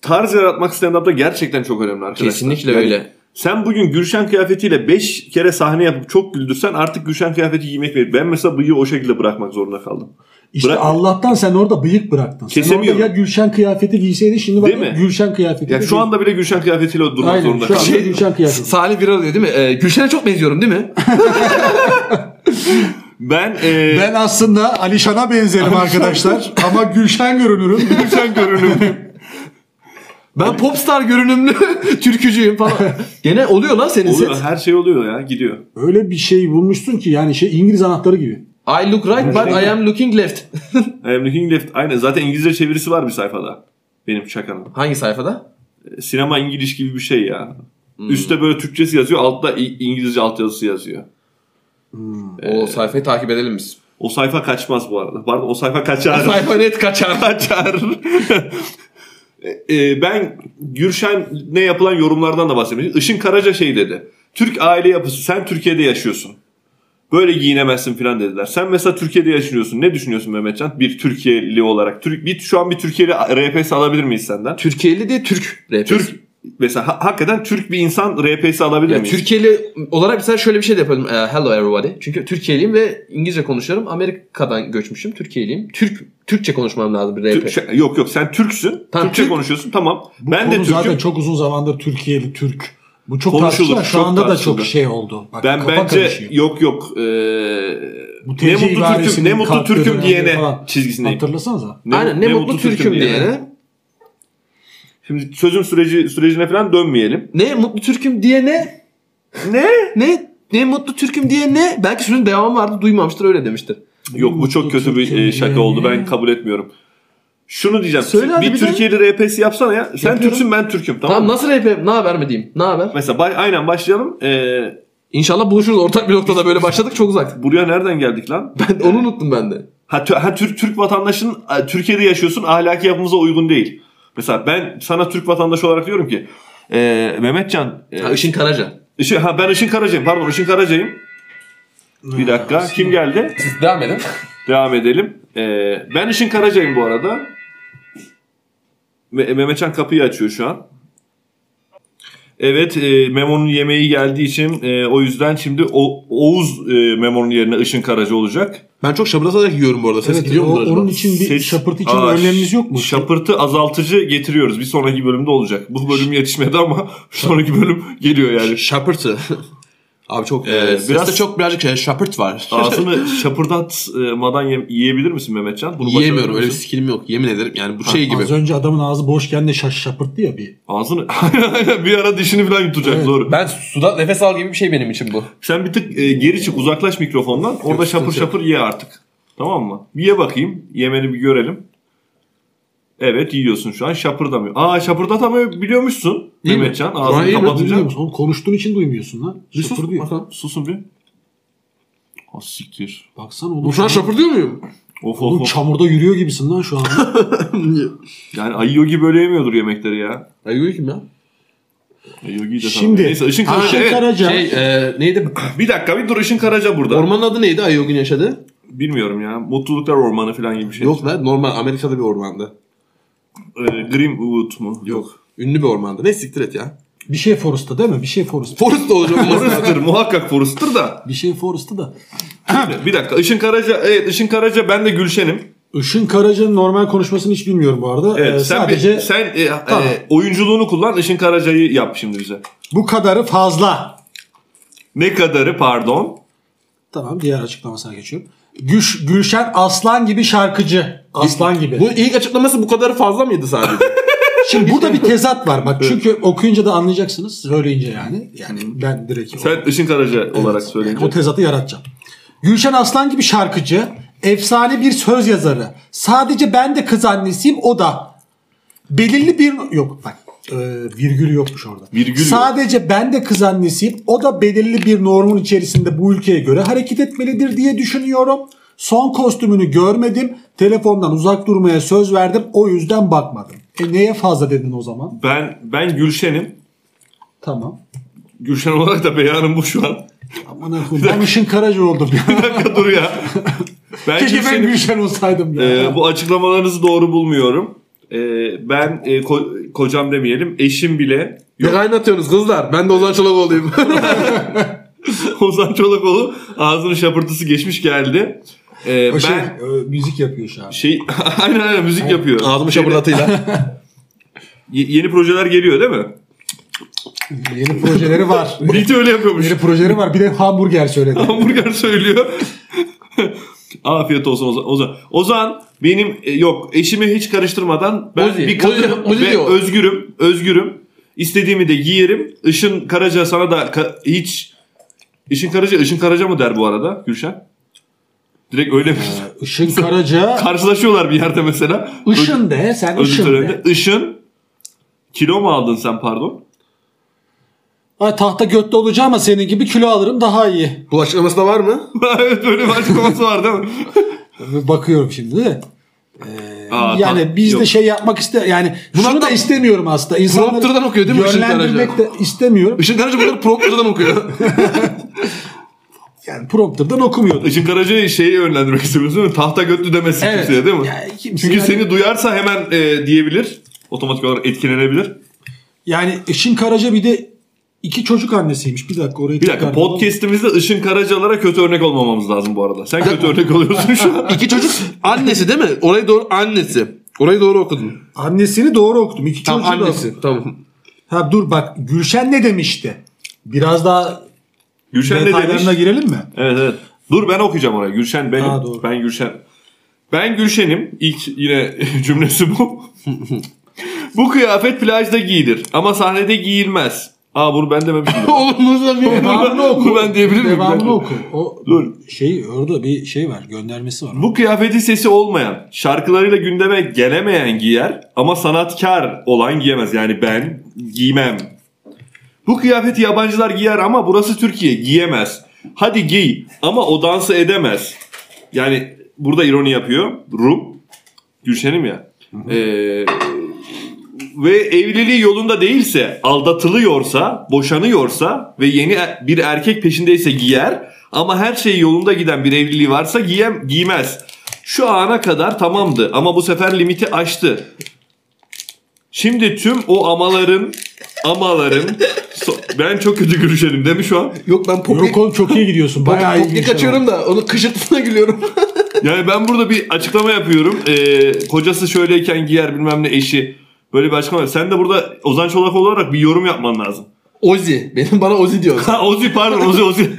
A: tarz yaratmak stand-up'ta gerçekten çok önemli arkadaşlar.
B: Kesinlikle
A: Yani
B: öyle.
A: Sen bugün Gülşen kıyafetiyle 5 kere sahne yapıp çok güldürsen artık Gülşen kıyafeti giymek değil. Ben mesela bıyığı o şekilde bırakmak zorunda kaldım.
C: İşte
A: Bırak-
C: Allah'tan sen orada bıyık bıraktın. Sen orada
A: Kesemiyorum.
C: ya Gülşen kıyafeti giyseydin şimdi bak
A: Değil mi?
C: Gülşen kıyafeti.
A: Ya şu anda bile Gülşen kıyafetiyle durmak
C: Aynen,
A: zorunda
C: şu anda
A: kaldım.
B: Şey-
C: Gülşen kıyafeti.
B: Salih bir arıyor değil mi? E, Gülşen'e çok benziyorum değil mi?
A: Ben, e,
C: Ben aslında Alişan'a benzerim arkadaşlar ama Gülşen görünürüm.
A: Gülşen görünümlüyüm.
B: Ben popstar görünümlü türkücüyüm falan. Gene oluyor lan senin
A: Oluyor,
B: set.
A: her şey oluyor ya gidiyor.
C: Öyle bir şey bulmuşsun ki yani şey İngiliz anahtarı gibi.
B: I look right but I am looking left.
A: I am looking left. Aynen zaten İngilizce çevirisi var bir sayfada. Benim şakanın. E,
B: Hangi sayfada?
A: Sinema İngiliz gibi bir şey ya.
C: Hmm.
A: Üste böyle Türkçesi yazıyor, altta İ- İngilizce altyazısı yazıyor.
B: O sayfayı takip edelim biz.
A: O sayfa kaçmaz bu arada. Pardon o sayfa kaçar.
B: Sayfa net kaçar.
A: kaçar. E, e, ben Gürşen'e yapılan yorumlardan da bahsetmiştim. Işın Karaca şey dedi. Türk aile yapısı sen Türkiye'de yaşıyorsun. Böyle giyinemezsin falan dediler. Sen mesela Türkiye'de yaşıyorsun. Ne düşünüyorsun Mehmetcan? Bir Türkiye'li olarak. Türk, bir, şu an bir Türkiye'li RPS alabilir miyiz senden?
B: Türkiye'li diye Türk rapçisi.
A: Türk mesela ha- hakikaten Türk bir insan RPS alabilir
B: Ya
A: miyiz?
B: Türkiye'li olarak mesela şöyle bir şey de yapalım. Ee, hello everybody. Çünkü Türkiye'liyim ve İngilizce konuşuyorum. Amerika'dan göçmüşüm. Türkiye'liyim. Türk Türkçe konuşmam lazım bir
A: Tür-
B: rap.
A: şey- yok yok sen Türksün.
B: Tamam,
A: Türkçe
B: Türk.
A: konuşuyorsun. Tamam.
C: Bu
A: ben de
C: konu
A: Türk'üm.
C: zaten çok uzun zamandır Türkiye'li Türk. Bu çok
A: Konuşulur,
C: tartışılır. Şu
A: çok
C: anda da
A: tartışılır.
C: çok şey oldu. Bak,
A: ben
C: kafa
A: bence
C: karışıyor.
A: yok yok. Ee,
C: Bu
A: ne
C: TC
A: mutlu Türk'üm, ne
C: ibaresinin
A: mutlu
C: kalktığı
A: Türk'üm
C: dönemde
A: diyene
C: falan.
A: çizgisindeyim.
C: Hatırlasanıza.
B: Aynen ne, mutlu, Türk'üm diyene.
A: Şimdi sözün süreci sürecine falan dönmeyelim.
B: Ne mutlu Türk'üm diyene.
A: Ne?
B: Ne ne mutlu Türk'üm diyene. Belki şunun devamı vardı duymamıştır öyle demiştir.
A: Yok bu çok
C: Mutlu
A: kötü bir
C: Türk'üm
A: e, şaka
C: diyene.
A: oldu. Ben kabul etmiyorum. Şunu diyeceğim.
B: Söyle hadi
A: bir
B: bir de.
A: Türkiye'li RP'si yapsana ya. Sen
B: Yapıyorum.
A: Türksün ben Türk'üm tamam,
B: Tamam
A: mı?
B: nasıl rap ne haber mi diyeyim? Ne haber?
A: Mesela ba- aynen başlayalım. Ee,
B: İnşallah buluşuruz ortak bir noktada böyle başladık çok uzak.
A: buraya nereden geldik lan?
B: Ben onu unuttum ben de.
A: Ha, tü- ha Türk Türk vatandaşın a, Türkiye'de yaşıyorsun ahlaki yapımıza uygun değil. Mesela ben sana Türk vatandaşı olarak diyorum ki e, Mehmetcan e,
B: Ha, Işın Karaca.
A: Işın- ha, ben Işın Karaca'yım pardon Işın Karaca'yım. Bir dakika kim geldi?
B: Siz devam edin.
A: Devam edelim. E, ben Işın Karaca'yım bu arada. Me- Mehmetcan kapıyı açıyor şu an. Evet e, Memo'nun yemeği geldiği için e, o yüzden şimdi o- Oğuz e, Memo'nun yerine Işın Karaca olacak.
B: Ben çok şabrasa olarak yiyorum bu arada. Ses
C: Evet,
B: gidiyor
C: o-
B: mu acaba?
C: onun için bir
A: Ses-
C: şapırt için
A: Aa,
C: bir önlemimiz yok mu?
A: Şapırtı azaltıcı getiriyoruz. Bir sonraki bölümde olacak. Bu bölüm yetişmedi ama sonraki bölüm geliyor yani.
D: Şapırtı. Abi çok
A: Ee,
D: e,
A: biraz-
D: seste çok birazcık şey, şapırt var.
A: Ağzını şapırdatmadan ye- yiyebilir misin Mehmetcan? Bunu başarabilir
D: Yiyemiyorum öyle bir
A: misin?
D: skillim yok yemin ederim. Yani bu şey gibi.
C: Az önce adamın ağzı boşken de şaş şapırttı ya bir.
A: Ağzını Aynen, aynen. bir ara dişini falan yutacak
C: Evet.
A: doğru.
B: Ben suda nefes al gibi bir şey benim için bu.
A: Sen bir tık e, geri çık uzaklaş mikrofondan. Orada şapır şapır ye artık. Tamam mı? Bir ye bakayım. Yemeni bir görelim. Evet yiyorsun şu an şapırdamıyor. Aa şapırdatamıyor biliyormuşsun.
B: İyi mi?
A: Mehmetcan
B: Ha, iyi
A: ağzını
B: mi?
C: Duymuyor
A: kapatınca.
C: musun? Oğlum konuştuğun için duymuyorsun lan.
A: Bir
C: Şapır
A: sus
C: diyor.
A: bakalım. Susun bir. Ha siktir.
C: Baksana oğlum.
B: Bu şu an şapırdıyor muyum?
A: Of of
C: Oğlum
A: of.
C: çamurda yürüyor gibisin lan şu an.
A: Yani ayı yogi böyle yemiyordur yemekleri ya.
B: Ay uyuyor kim ya?
A: Ayı yogi de
C: Şimdi-
A: Neyse Işın
C: Ha,
A: Karaca.
C: Işın
A: evet.
C: Karaca.
B: Şey e, neydi?
A: Bir dakika bir dur Işın Karaca burada.
B: Ormanın adı neydi Ayogin yaşadı?
A: Bilmiyorum ya. Mutluluklar Ormanı falan gibi bir şey.
B: Yok lan normal Amerika'da bir ormanda.
A: Ee, Grimwood mu?
B: Yok. Ünlü bir ormanda. Ne siktir et ya.
C: Bir şey Forrest'ta değil mi? Bir şey Forrest'ta.
B: Forest olacak olması.
A: Forrester muhakkak Forrester da.
C: Bir şey Forrest'ta da.
A: bir dakika Işın Karaca evet Işın Karaca ben de Gülşen'im.
C: Işın Karaca'nın normal konuşmasını hiç bilmiyorum bu arada.
A: Evet
C: Ee,
A: sen
C: sadece
A: bir, sen e,
C: Tamam.
A: e, oyunculuğunu kullan Işın Karaca'yı yap şimdi bize.
C: bu kadarı fazla.
A: Ne kadarı pardon.
C: Tamam diğer açıklamasına geçiyorum. Güş, Gülşen aslan gibi şarkıcı. Aslan gibi.
B: bu ilk açıklaması bu kadar fazla mıydı sadece?
C: Şimdi burada bir tezat var bak. Çünkü okuyunca da anlayacaksınız. Söyleyince yani. Yani ben direkt
A: Sen Işın Karaca olarak söyleyince.
C: o tezatı yaratacağım. Gülşen Aslan gibi şarkıcı. Efsane bir söz yazarı. Sadece ben de kız annesiyim o da. Belirli bir... Yok bak e, virgül yokmuş orada.
A: Virgül yok.
C: Sadece ben de kız annesiyim. O da belirli bir normun içerisinde bu ülkeye göre hareket etmelidir diye düşünüyorum. Son kostümünü görmedim. Telefondan uzak durmaya söz verdim. O yüzden bakmadım. E neye fazla dedin o zaman?
A: Ben ben Gülşen'im.
C: Tamam.
A: Gülşen olarak da beyanım bu şu an.
C: Aman akım. Ben Işın Karaca oldum.
A: Bir dakika dur ya. Ben
C: Keşke ben
A: Gülşen'im.
C: Gülşen olsaydım. Ya.
A: Ee, bu açıklamalarınızı doğru bulmuyorum. Ee, ben e, ko- kocam demeyelim eşim bile
B: ne kaynatıyorsunuz kızlar? Ben de Ozan Çolak olayım.
A: Ozan Çolakoğlu ağzının şapırtısı geçmiş geldi. Ee,
C: O şey,
A: ben
C: e, müzik yapıyor şu an.
A: şey aynen aynen müzik yapıyor. Şeyde-
B: Ağzımı şapırdatıyla.
A: Ye- yeni projeler geliyor değil mi?
C: Yeni projeleri var.
A: Bilgi öyle yapıyormuş.
C: Yeni projeleri var. Bir de hamburger söyledi.
A: Hamburger söylüyor. Afiyet olsun Ozan. Ozan, Ozan benim e, yok eşimi hiç karıştırmadan ben
B: Ozi,
A: bir kadınım
B: Ozi, Ozi
A: ve
B: diyor.
A: özgürüm. Özgürüm. İstediğimi de giyerim. Işın Karaca sana da ka- hiç Işın Karaca, Işın Karaca mı der bu arada Gülşen? Direkt öyle mi?
C: Işın Karaca.
A: Karşılaşıyorlar bir yerde mesela.
C: Işın de sen
A: Özür
C: Işın de.
A: dilerim. Işın kilo mu aldın sen pardon?
C: Ay, tahta götte olacağım ama senin gibi kilo alırım daha iyi.
B: bu açıklaması da var mı?
A: evet böyle bir açıklaması var değil mi?
C: Ee, Bakıyorum şimdi de.
A: Aa,
C: yani
A: tam-
C: biz
A: yok.
C: de şey yapmak iste yani şunu da
B: hatta-
C: istemiyorum aslında. İnsanları
B: Prompter'dan okuyor değil mi Işın Karaca?
C: Yönlendirmek de istemiyorum.
B: Işın Karaca bunları prompterdan okuyor.
C: Yani prompter'dan okumuyorum.
A: Işın Karaca'yı şeye yönlendirmek istiyorsun değil mi? Tahta götlü demesin
C: Evet.
A: kimseye değil mi?
C: Yani kimse
A: Çünkü
C: yani-
A: seni duyarsa hemen e, diyebilir. Otomatik olarak etkilenebilir.
C: Yani Işın Karaca bir de iki çocuk annesiymiş. Bir dakika orayı
A: Bir dakika
C: tekrardan-
A: podcast'imizde Işın Karacalara kötü örnek olmamamız lazım bu arada. Sen kötü örnek oluyorsun şu an.
B: İki çocuk annesi değil mi? Orayı doğru annesi. Orayı doğru okudun.
C: Annesini doğru okudum. İki
B: Tam
C: çocuğu da-
B: annesi. Tamam.
C: Ha dur bak Gülşen ne demişti? Biraz daha
A: Gülşen ne demiş?
C: detaylarına girelim mi?
A: Evet evet. Dur ben okuyacağım oraya. Gülşen benim.
C: Ha, doğru.
A: Ben Gülşen. Ben Gülşen'im. İlk yine cümlesi bu. bu kıyafet plajda giyilir ama sahnede giyilmez. Aa bunu ben dememiştim.
B: Oğlum nasıl bir
C: Devamını
A: Bunu
C: oku.
A: ben diyebilir miyim? Bir
C: Devamını
A: dakika.
C: oku. O
A: Dur.
C: şey orada bir şey var. Göndermesi var.
A: Bu kıyafeti sesi olmayan, şarkılarıyla gündeme gelemeyen giyer ama sanatkar olan giyemez. Yani ben giymem. Bu kıyafeti yabancılar giyer ama burası Türkiye giyemez. Hadi giy ama o dansı edemez. Yani burada ironi yapıyor. Rum. Gülşen'im ya. Ee, ve evliliği yolunda değilse, aldatılıyorsa, boşanıyorsa ve yeni er- bir erkek peşindeyse giyer ama her şey yolunda giden bir evliliği varsa giyem giymez. Şu ana kadar tamamdı ama bu sefer limiti aştı. Şimdi tüm o amaların amaların so- ben çok kötü görüşelim değil mi şu an?
B: Yok ben pop
C: Yok oğlum çok iyi gidiyorsun. Bayağı iyi.
B: Popnik
C: Gülşen
B: açıyorum da onun kışırtısına gülüyorum.
A: Yani ben burada bir açıklama yapıyorum. Ee, kocası şöyleyken giyer bilmem ne eşi. Böyle bir açıklama. yap. Sen de burada Ozan Çolak olarak bir yorum yapman lazım.
B: Ozi. Benim bana Ozi diyor.
A: Ha, Ozi pardon Ozi Ozi.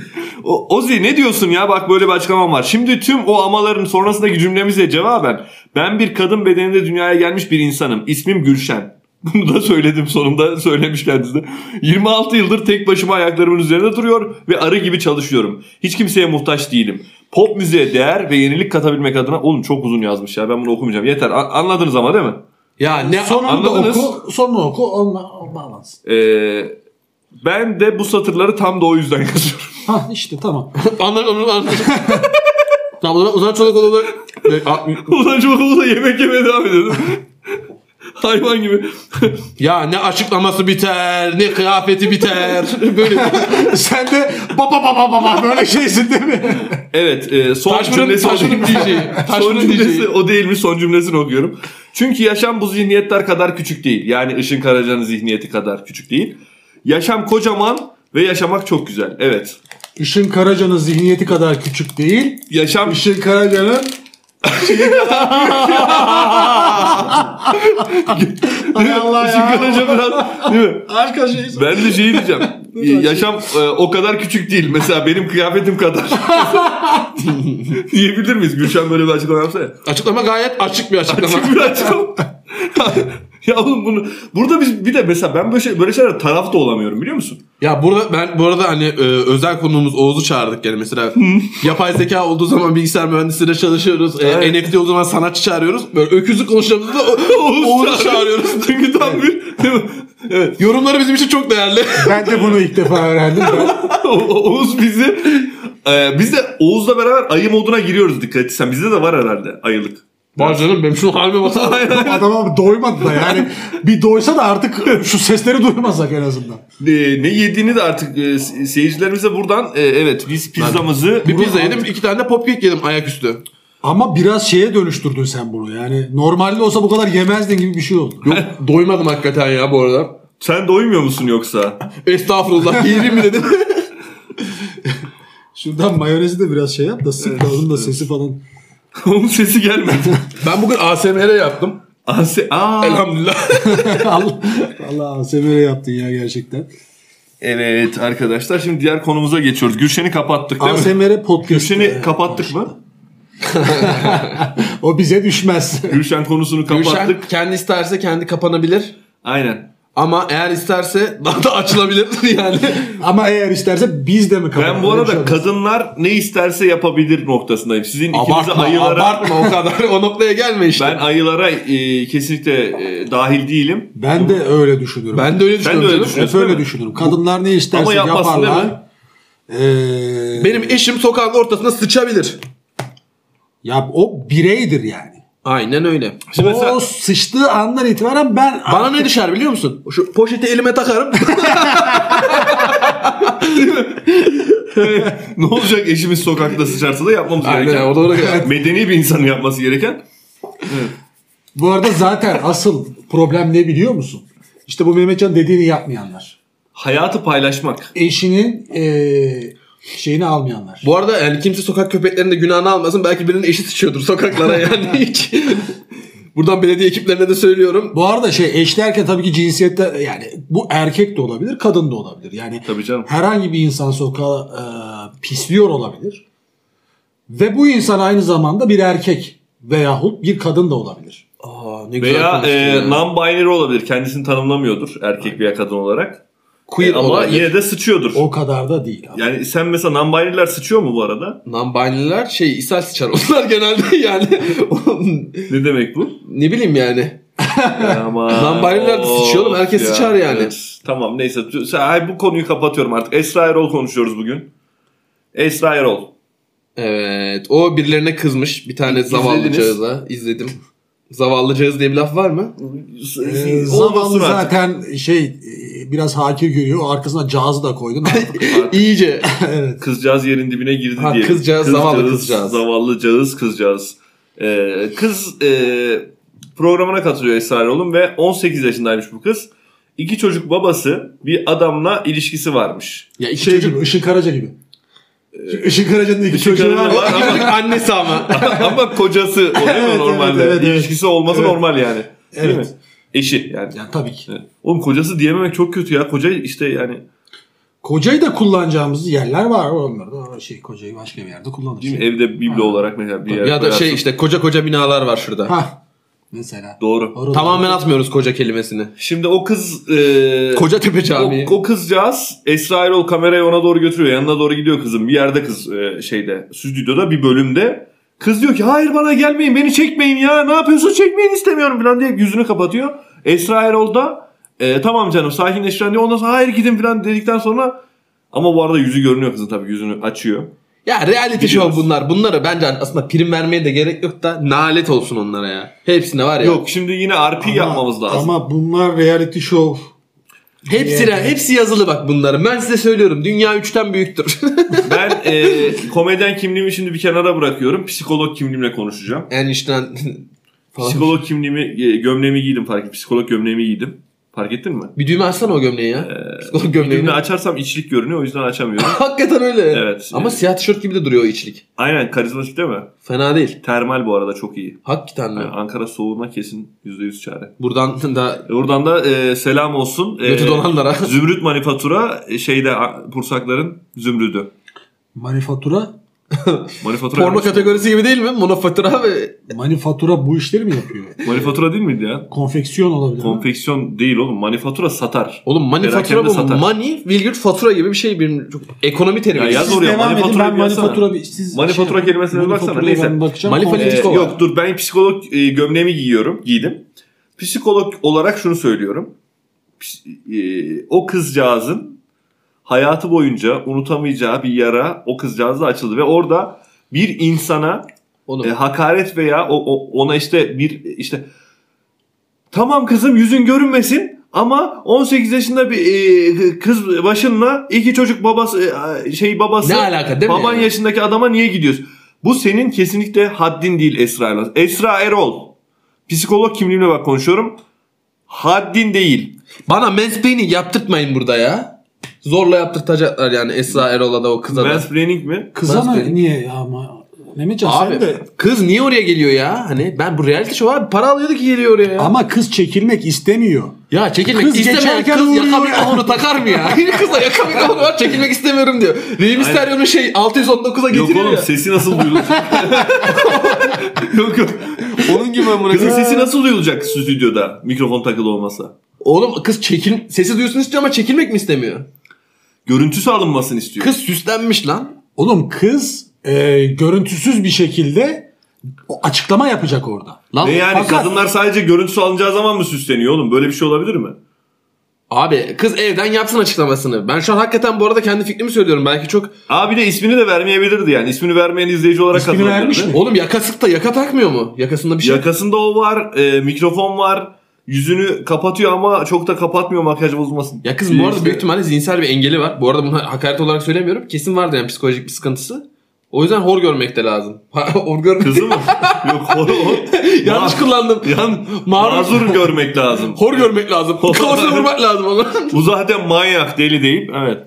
A: O- Ozi ne diyorsun ya bak böyle bir açıklamam var. Şimdi tüm o amaların sonrasındaki cümlemize cevaben ben bir kadın bedeninde dünyaya gelmiş bir insanım. İsmim Gülşen. Bunu da söyledim sonunda söylemiş kendisi de. 26 yıldır tek başıma ayaklarımın üzerinde duruyor ve arı gibi çalışıyorum. Hiç kimseye muhtaç değilim. Pop müziğe değer ve yenilik katabilmek adına... Oğlum çok uzun yazmış ya ben bunu okumayacağım. Yeter A- anladınız ama değil mi?
B: Ya ne
C: Sonunu da
A: anladınız?
C: oku, sonunu oku, onunla o bağlansın.
A: Ee, ben de bu satırları tam da o yüzden yazıyorum.
C: Hah işte tamam.
B: anlar onu anlar. Tamam o zaman Ozan Çolak olarak E, a-
A: Ulan Çokoğlu da yemek yemeye devam ediyordu. Hayvan gibi.
B: ya ne açıklaması biter, ne kıyafeti biter. Böyle
C: Sen de baba baba baba böyle şeysin değil mi?
A: Evet e, son
B: Taşmanın-
A: cümlesi o
B: Taşmanın
A: değil.
B: diyeceği.
A: son
B: Taşmanın
A: cümlesi
B: diyeceği.
A: o değilmiş son cümlesini okuyorum. Çünkü yaşam bu zihniyetler kadar küçük değil. Yani Işın Karaca'nın zihniyeti kadar küçük değil. Yaşam kocaman ve yaşamak çok güzel. Evet.
C: Işın Karaca'nın zihniyeti kadar küçük değil.
A: Yaşam
C: Işın Karaca'nın Hay Allah
A: Işın
C: ya.
A: Karaca biraz değil mi?
C: Harika şeysin.
A: Ben de şey diyeceğim. Yaşam e, o kadar küçük değil. Mesela benim kıyafetim kadar. Diyebilir miyiz? Gülşen böyle bir açıklama yapsa ya.
B: açıklama gayet açık bir açıklama.
A: Açık bir açıklama. ya oğlum bunu burada biz bir de mesela ben böyle şey, böyle şeyler taraf da olamıyorum biliyor musun?
B: Ya burada ben bu arada hani e, özel konuğumuz Oğuz'u çağırdık yani mesela yapay zeka olduğu zaman bilgisayar mühendisliğiyle çalışıyoruz. E,
A: Evet.
B: NFT olduğu zaman sanatçı çağırıyoruz. Böyle öküzü konuştuğumuzda da O- Oğuz'u çağırıyoruz.
A: Çünkü tam bir evet.
B: Yorumları bizim için çok değerli.
C: Ben de bunu ilk defa öğrendim. Ben-
A: O- O- Oğuz bizi e, biz de Oğuz'la beraber ayı moduna giriyoruz dikkat etsen. Bizde de var herhalde ayılık.
B: Var canım benim şu halime basar.
C: Adama doymadı da yani. Bir doysa da artık şu sesleri duymasak en azından.
A: E, ne yediğini de artık e, se- seyircilerimize buradan e, evet biz pizzamızı
B: Bir pizza yedim iki tane de popkek yedim ayaküstü.
C: Ama biraz şeye dönüştürdün sen bunu yani. Normalde olsa bu kadar yemezdin gibi bir şey oldu.
B: Yok doymadım hakikaten ya bu arada.
A: Sen doymuyor musun yoksa?
B: Estağfurullah yerim mi dedim.
C: Şuradan mayonezi de biraz şey yap da sık da onun da sesi falan.
A: Onun sesi gelmedi.
B: ben bugün ASMR yaptım.
A: Asi Aa.
B: Elhamdülillah.
C: Allah Allah semere yaptın ya gerçekten.
A: Evet arkadaşlar şimdi diğer konumuza geçiyoruz. Gülşen'i kapattık değil mi?
C: ASMR podcast.
A: Gülşen'i kapattık mı?
C: O bize düşmez.
A: Gülşen konusunu kapattık.
B: Gülşen kendi isterse kendi kapanabilir.
A: Aynen.
B: Ama eğer isterse daha da açılabilir yani.
C: Ama eğer isterse biz de mi kapatalım?
A: Ben bu
C: Öyle bir şey
A: arada
C: olmaz.
A: kadınlar ne isterse yapabilir noktasındayım. Sizin ikinize
B: Abartma,
A: ayılara...
B: abartma o kadar. O noktaya gelme işte.
A: Ben
B: Ben,
A: ayılara e, kesinlikle e, dahil değilim.
C: ben de öyle düşünüyorum.
B: de öyle
A: öyle
B: düşünüyorum. canım.
A: düşünüyorum.
C: hep
A: Düşünüyorsun değil
C: öyle
A: mi?
C: düşünüyorum. Kadınlar ne isterse
A: Ama yapmasın değil
C: yaparlar. Ee,
B: Benim eşim sokağın ortasına sıçabilir.
C: ya o bireydir yani.
B: Aynen öyle.
A: Şimdi mesela
C: O sıçtığı andan itibaren ben
B: Bana ne düşer biliyor musun? Şu poşeti elime takarım.
A: ne olacak eşimiz sokakta sıçarsa da yapmamız gereken.
B: o doğru.
A: Medeni bir insanın yapması gereken.
C: Bu arada zaten asıl problem ne biliyor musun? İşte bu Mehmetcan dediğini yapmayanlar.
A: Hayatı paylaşmak.
C: Eşinin eee, şeyini almayanlar.
B: Bu arada yani kimse sokak köpeklerinin de günahını almasın. Belki birinin eşi sıçıyordur sokaklara yani. Hiç. Buradan belediye ekiplerine de söylüyorum.
C: Bu arada şey eş derken tabii ki cinsiyette yani bu erkek de olabilir, kadın da olabilir. Yani
A: Tabii canım.
C: herhangi bir insan sokağa eee, pisliyor olabilir. Ve bu insan aynı zamanda bir erkek veyahut bir kadın da olabilir.
B: Aa, ne güzel
A: Veya
B: konuştun
A: e,
B: ya.
A: non-binary olabilir. Kendisini tanımlamıyordur erkek veya kadın olarak.
B: Queer
A: E, ama
B: olabilir.
A: yine de sıçıyordur.
C: O kadar da değil. Ama.
A: Yani sen mesela non-binary'ler sıçıyor mu bu arada?
B: Non-binary'ler şey ishal sıçar. Onlar genelde yani.
A: Ne demek bu?
B: ne bileyim yani.
A: Ama
B: Non-binary'ler de sıçıyor oğlum, herkes sıçar yani.
A: Tamam neyse. Sen- Ay, bu konuyu kapatıyorum artık. Esra Erol konuşuyoruz bugün. Esra Erol.
B: Evet. O birilerine kızmış. Bir tane zavallı
A: İzlediniz.
B: cağıza. izledim. Zavallı cağız diye bir laf var mı?
C: Eee,
A: Olmasın
C: Ee, zavallı
A: artık.
C: E, zaten şey eee, biraz hakir görüyor. Arkasına cazı da koydun.
B: İyice.
C: evet.
A: Kızcağız yerin dibine girdi
B: Ha,
A: diye.
B: kızcağız, zavallı kızcağız.
A: Zavallı cağız kızcağız. Ee, kız e, programına katılıyor Esra Erol'un ve 18 yaşındaymış bu kız. İki çocuk babası bir adamla ilişkisi varmış.
B: Ya iki
C: Şey
B: çocuk.
C: gibi, Işın Karaca gibi. Ee, Işın Karaca'nın iki çocuğu var.
A: Karaca'nın
C: ya.
A: var.
B: İki çocuk annesi ama.
A: Ama kocası oluyor mu
C: Evet,
A: normalde.
C: evet, evet, evet.
A: İlişkisi olması
C: Evet.
A: normal yani. Değil
C: Evet.
A: mi? Eşi yani.
C: Yani tabii ki.
A: Evet. Oğlum kocası diyememek çok kötü ya. Koca işte yani.
C: Kocayı da kullanacağımız yerler var onlarda. Ama Şey kocayı başka bir yerde kullanırız.
A: Değil mi? Evde biblo olarak mesela bir yer
B: ya da şey
A: koyarsın.
B: işte koca koca binalar var şurada.
C: Ha. Mesela.
A: Doğru.
C: Orada-
B: Tamamen atmıyoruz koca kelimesini.
A: Şimdi o kız e,
B: Koca tepe
A: o,
B: camii.
A: o kızcağız Esra Erol kamerayı ona doğru götürüyor. Yanına doğru gidiyor kızım. Bir yerde kız e, şeyde stüdyoda bir bölümde Kız diyor ki hayır bana gelmeyin beni çekmeyin ya ne yapıyorsun çekmeyin istemiyorum falan diye yüzünü kapatıyor. Esra Erol da "E, tamam canım sakinleş falan diyor. Ondan sonra hayır gidin falan dedikten sonra ama bu arada yüzü görünüyor kızın tabii yüzünü açıyor.
B: Ya reality
A: Biliyoruz.
B: show bunlar. Bunlara bence aslında prim vermeye de gerek yok da nalet olsun onlara ya. Hepsine var ya.
A: Yok şimdi yine RP şey yapmamız lazım.
C: Ama bunlar reality show.
B: Hepsine,
C: Yani.
B: hepsi yazılı bak bunların. Ben size söylüyorum dünya üçten büyüktür.
A: Ben e, komedyen kimliğimi şimdi bir kenara bırakıyorum. Psikolog kimliğimle konuşacağım.
B: yani işte
A: Psikolog kimliğimi, e, gömleğimi giydim fark et. Psikolog gömleğimi giydim. Fark ettin mi?
B: bir düğme açsana o gömleği ya. Psikolog gömleğini.
A: Gömleği açarsam içlik görünüyor o yüzden açamıyorum.
B: Hakikaten öyle.
A: Evet.
B: Ama siyah tişört gibi de duruyor o içlik.
A: Aynen karizmatik değil mi?
B: Fena değil.
A: Termal bu arada çok iyi.
B: Hakikaten de.
A: Yani Ankara soğuğuna kesin %100 çare.
B: Buradan da
A: E, Buradan da e, selam olsun. E,
B: götü dolanlara.
A: Zümrüt Manifatura e, şeyde a- Pursakların zümrüdü.
C: Manifatura.
A: Manifatura,
B: Porno kategorisi gibi değil mi? Monofatura ve
C: Manifatura bu işleri mi yapıyor?
A: Manifatura değil miydi ya?
C: Konfeksiyon olabilir. mi?
A: Konfeksiyon değil oğlum. Manifatura satar.
B: Oğlum manifatura
A: Perakende
B: bu.
A: satar.
B: Money virgül fatura gibi bir şey. Bir, çok ekonomi terimi.
A: Ya yaz
C: Siz
A: oraya,
C: devam edin
A: manifatura
C: ben
A: bir yazsana.
C: manifatura bir... Siz şey
A: Manifatura kelimesine bir baksana,
C: manifaturaya
A: neyse.
C: Ben bakacağım.
B: Manifatura-
A: Ee,
C: Konfeksiyon-
B: Psikolog.
A: yok dur ben psikolog e, gömleğimi giyiyorum, giydim. Psikolog olarak şunu söylüyorum. Ps- e, o kızcağızın hayatı boyunca unutamayacağı bir yara o kızcağızda açıldı ve orada bir insana
B: Oğlum.
A: e, hakaret veya o, o- ona işte bir işte tamam kızım yüzün görünmesin ama 18 yaşında bir e, kız başınla iki çocuk babası e, şey babası
B: ne alaka değil mi?
A: Baban
B: yani?
A: yaşındaki adama niye gidiyorsun? Bu senin kesinlikle haddin değil Esra Erol. Esra Erol. Psikolog kimliğimle bak konuşuyorum. Haddin değil.
B: Bana mansplaining yaptırtmayın burada ya. Zorla yaptırtacaklar yani Esra Erol'a da o kıza da.
A: Mansplaining mi?
C: Kıza mı?
B: Manifatura-
C: Niye ya? Ama... Mehmetcan sen
B: Abi
C: de...
B: kız niye oraya geliyor ya? Hani ben bu reality show abi para alıyordu ki geliyor oraya ya.
C: Ama kız çekilmek istemiyor.
B: ya çekilmek
C: Kız
B: istemeyen
C: geçerken
B: kız
C: uğruyor
B: yaka
C: ya.
B: mikrofonu takar mı ya? Kızla yaka mikrofonu var çekilmek istemiyorum diyor. Rey Mysterio'nun şey 619'a
A: Yok
B: getiriyor
A: oğlum
B: ya.
A: sesi nasıl duyulacak? yok yok.
B: Onun gibi amına
A: Kızın
B: koyayım.
A: sesi nasıl duyulacak stüdyoda mikrofon takılı olmasa?
B: Oğlum kız çekil sesi duyuyorsun istiyor ama çekilmek mi istemiyor?
A: Görüntüsü alınmasını istiyor.
B: Kız süslenmiş lan.
C: Oğlum kız e, görüntüsüz bir şekilde o açıklama yapacak orada.
B: Lan
A: Ne yani
C: Fakat-
A: kadınlar sadece görüntüsü alınacağı zaman mı süsleniyor oğlum? Böyle bir şey olabilir mi?
B: abi kız evden yapsın açıklamasını. Ben şu an hakikaten bu arada kendi fikrimi söylüyorum. Belki çok
A: Abi de ismini de vermeyebilirdi yani. İsmini vermeyen izleyici olarak
C: İsmini
A: katılabilirdi.
C: vermiş mi?
B: Oğlum yakasık da yaka takmıyor mu? Yakasında bir şey.
A: Yakasında o var, e, mikrofon var. Yüzünü kapatıyor ama çok da kapatmıyor makyaj bozulmasın.
B: ya kız bu arada
A: İşte
B: büyük ihtimalle zihinsel bir engeli var. Bu arada bunu hakaret olarak söylemiyorum. Kesin vardır yani psikolojik bir sıkıntısı. O yüzden hor görmek de lazım. hor görmek.
A: Kızı mı? Yok hor o.
B: Yanlış
A: Ma-
B: kullandım.
A: Yan,
B: Mağrur-
A: mazur görmek lazım.
B: Hor görmek lazım. Kafasına vurmak lazım ona.
A: Bu zaten manyak deli deyip evet.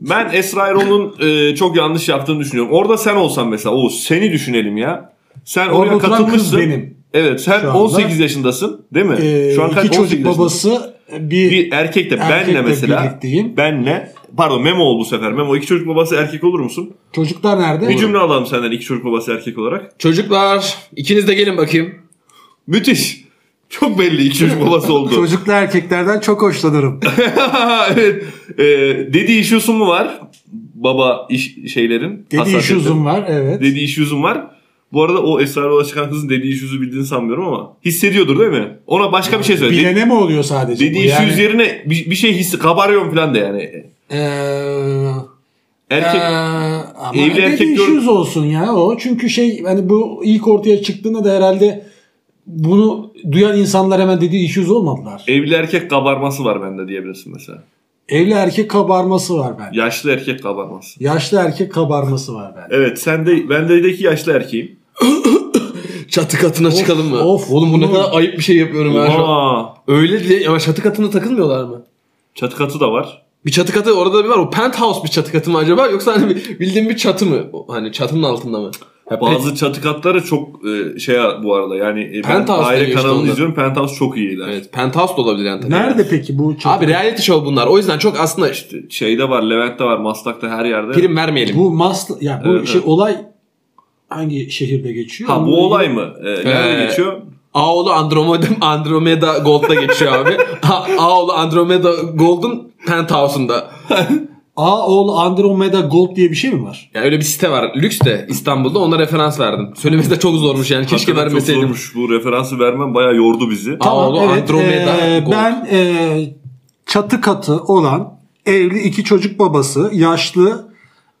A: Ben Esra Erol'un e, çok yanlış yaptığını düşünüyorum. Orada sen olsan mesela o seni düşünelim ya. Sen
C: Orada
A: oraya
C: oturan kız
A: katılmışsın.
C: benim.
A: Evet sen
C: Şu anda.
A: 18 yaşındasın değil mi?
C: E,
A: Şu an kaç 18
C: iki çocuk
A: yaşındasın.
C: babası bir,
A: Bir erkek de
C: erkekle
A: benle mesela.
C: birlikteyim.
A: Benle. Pardon Memo ol bu sefer. Memo iki çocuk babası erkek olur musun?
C: Çocuklar nerede?
A: Bir cümle alalım senden iki çocuk babası erkek olarak.
B: Çocuklar ikiniz de gelin bakayım.
A: Müthiş. Çok belli iki çocuk babası oldu.
C: Çocuklu erkeklerden çok hoşlanırım.
A: evet. Ee, dedi iş yüzüm mu var? Baba iş şeylerin.
C: Dedi iş
A: hassasiyetlerin.
C: uzun var evet.
A: Dedi iş yüzüm var. Bu arada o esrarla çıkan kızın dediği iş yüzü bildiğini sanmıyorum ama hissediyordur değil mi? Ona başka bir şey söyle. Dedi,
C: Bilene mi oluyor sadece? bu?
A: dediği iş
C: Yani,
A: yüzü yerine bir, bir şey hissi kabarıyorum falan da yani.
C: e,
A: Erkek
C: e, ama
A: evli
C: dedi
A: erkek
C: iş
A: gör-
C: yüz olsun ya o. Çünkü şey hani bu ilk ortaya çıktığında da herhalde bunu duyan insanlar hemen dediği iş yüz olmadılar.
A: evli erkek kabarması var bende diyebilirsin mesela.
C: Evli erkek kabarması var bende.
A: Yaşlı erkek kabarması.
C: Yaşlı erkek kabarması var bende.
A: Evet sen de bendeki yaşlı erkeğim.
B: Çatı katına E, çıkalım mı?
C: of.
B: Oğlum bu ne
C: Oğlum.
B: kadar ayıp bir şey yapıyorum ben şu an.
A: Aa,
B: Öyle diye ama çatı katında takılmıyorlar mı?
A: çatı katı da var.
B: Bir çatı katı orada bir var. O penthouse bir çatı katı mı acaba? Yoksa hani bir- bildiğin bir çatı mı? O Hani çatının altında mı? Ya
A: Bazı çatı katları çok e, şey bu arada yani e, ben
B: Penthouse
A: aile
B: deniyor işte
A: kanalını
B: onlar.
A: izliyorum. Penthouse çok iyiler.
B: Evet penthouse da olabilir yani tabii.
C: Nerede peki bu çatı?
B: Abi reality show bunlar. O yüzden çok aslında işte
A: Şeyde var, Levent'te var, Maslak'ta her yerde.
B: prim vermeyelim.
C: bu mas ya bu
A: Evet,
C: şey
A: evet.
C: olay hangi şehirde geçiyor?
A: ha
C: Onunla
A: bu olay mı? E, nerede
B: Ee,
A: geçiyor?
B: Aoğlu Andromeda, Andromeda Gold'da geçiyor abi. A- Aoğlu Andromeda Gold'un penthouse'unda.
C: A All Andromeda Gold diye bir şey mi var?
B: Ya öyle bir site var. Lüks de İstanbul'da ona referans verdim. Söylemesi de çok zormuş yani. Keşke
A: Hakikaten çok
B: vermeseydim.
A: zormuş. Bu referansı vermem bayağı yordu bizi.
B: A- All Andromeda
C: Ee,
B: Gold.
C: Ben e, çatı katı olan evli iki çocuk babası yaşlı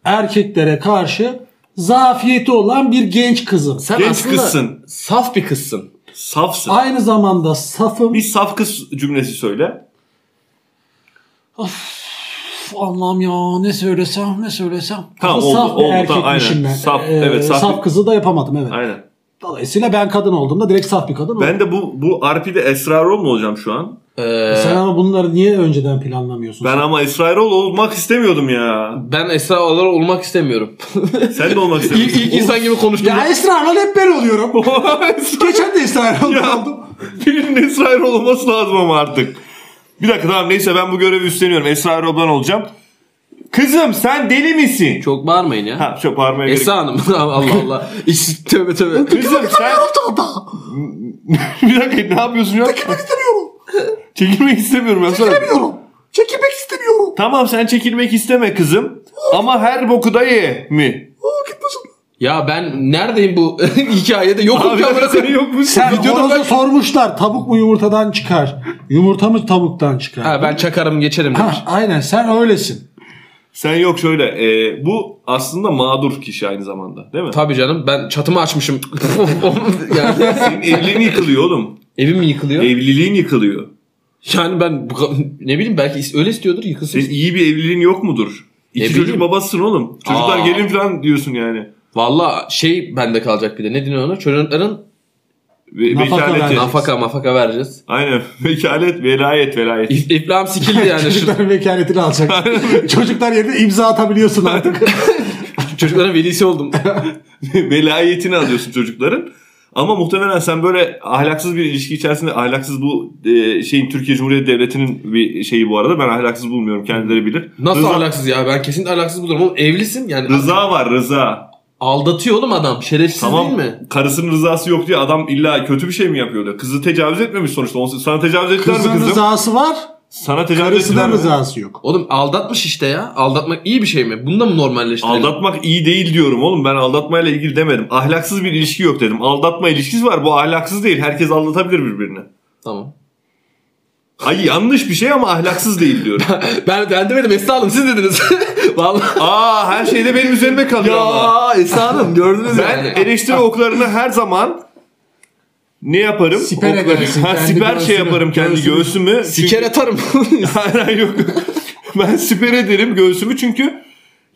C: erkeklere karşı zafiyeti olan bir genç kızım.
B: Sen
A: Genç
B: aslında
A: kızsın.
B: saf bir kızsın.
A: Safsın.
C: Aynı zamanda safım.
A: Bir saf kız cümlesi söyle.
C: Uf, Allah'ım ya ne söylesem ne söylesem.
A: Tamam,
C: Ama
A: oldu,
C: saf bir
A: oldu, tamam,
C: erkekmişim
A: aynen.
C: ben.
A: Saf,
C: Ee,
A: evet, saf
C: saf,
A: bir-
C: kızı da yapamadım evet.
A: Aynen.
C: Dolayısıyla ben kadın olduğumda direkt saf bir kadın oldum.
A: Ben de bu bu RP'de Esrarol mu olacağım şu an?
B: Ee,
C: Sen ama bunları niye önceden planlamıyorsun?
A: Ben ama Esrarol olmak istemiyordum ya.
B: ben Esra Olar olmak istemiyorum.
A: Sen de olmak
B: ilk
A: istemiyordun.
B: ilk insan gibi konuştum.
C: Ya ısrarla hep ben oluyorum. Geçen de ısrarla
A: Ya.
C: oldum.
A: Birinin Esrarol olması lazım ama artık. Bir dakika tamam neyse ben bu görevi üstleniyorum. Esrarol ben olacağım. Kızım sen deli misin?
B: Çok bağırmayın ya.
A: Ha çok bağırmaya gerek
B: Esra Hanım. Allah Allah. İş, tövbe tövbe.
A: Kızım sen... bir dakika ne yapıyorsun ya?
C: Çekilmek istemiyorum.
A: Çekilmek istemiyorum. ya. Sonra-
C: Çekilemiyorum. Çekilmek istemiyorum.
A: Tamam sen çekilmek isteme kızım. Ama her boku da ye mi?
C: Aa, git başım.
B: Ya ben neredeyim bu hikayede? Yokum
A: Abi
B: ki amına
A: senin
B: koyayım.
A: yok mu?
C: Sen
B: Videoda
C: horoza
B: ben-
C: sormuşlar tavuk mu yumurtadan çıkar? Yumurta mı tavuktan çıkar?
B: Ha, ben çakarım geçerim demiş.
C: Ha, aynen sen öylesin.
A: Sen yok şöyle. e, bu aslında mağdur kişi aynı zamanda değil mi?
B: Tabii canım ben çatımı açmışım. yani
A: Senin evliliğin yıkılıyor oğlum.
B: evim mi yıkılıyor?
A: Evliliğin yıkılıyor.
B: Yani ben bu ka- ne bileyim belki is- öyle istiyordur yıkılsın.
A: Senin iyi bir evliliğin yok mudur? İki
B: Ne
A: çocuk
B: bileyim.
A: babasısın oğlum. Çocuklar
B: Aa.
A: gelin falan diyorsun yani.
B: Valla şey bende kalacak bir de ne deniyor ona? Çocukların
A: Ve,
C: Nafaka
A: vekaleti.
C: vereceğiz.
B: nafaka mafaka vereceğiz.
A: Aynen. Vekalet, velayet, velayet.
B: İf- İflam sikildi yani. Şu,
C: Çocukların vekaletini alacaksın. Çocuklar yerine imza atabiliyorsun artık.
B: çocukların velisi oldum.
A: Velayetini alıyorsun çocukların. Ama muhtemelen sen böyle ahlaksız bir ilişki içerisinde ahlaksız bu e, şeyin Türkiye Cumhuriyeti Devleti'nin bir şeyi bu arada. Ben ahlaksız bulmuyorum. Kendileri bilir.
B: Nasıl
A: Rıza-
B: ahlaksız ya? Ben kesin ahlaksız bulurum. Oğlum evlisin yani.
A: Rıza var rıza.
B: Aldatıyor oğlum adam. Şerefsiz
A: Tamam
B: değil mi?
A: karısının rızası yok diye adam illa kötü bir şey mi yapıyor diyor. Kızı tecavüz etmemiş sonuçta. On- Sana tecavüz ettiler mi
C: Kızın
A: kızım?
C: rızası var.
A: Sana tecavüz ettiler
C: Karısının
A: mi?
C: rızası yok.
B: Oğlum aldatmış işte ya. Aldatmak iyi bir şey mi? Bunu da mı normalleştirelim?
A: Aldatmak iyi değil diyorum oğlum. Ben aldatmayla ilgili demedim. Ahlaksız bir ilişki yok dedim. Aldatma ilişkisi var. Bu ahlaksız değil. Herkes aldatabilir birbirini.
B: Tamam.
A: Ay yanlış bir şey ama ahlaksız değil diyorum.
B: Ben, ben demedim Esra Hanım siz dediniz. Vallahi.
A: Aa her şeyde benim üzerime kalıyor ama.
B: Esra Hanım gördünüz
A: Ben eleştiri oklarını her zaman ne yaparım?
C: Siper
A: Oklarım.
C: edersin
A: Ha,
C: kendi
A: siper şey
C: göğsünü.
A: yaparım kendi
C: Göğsünü.
A: göğsümü. Çünkü-
B: Siker atarım.
A: Hayır hayır, yok. ben siper ederim göğsümü çünkü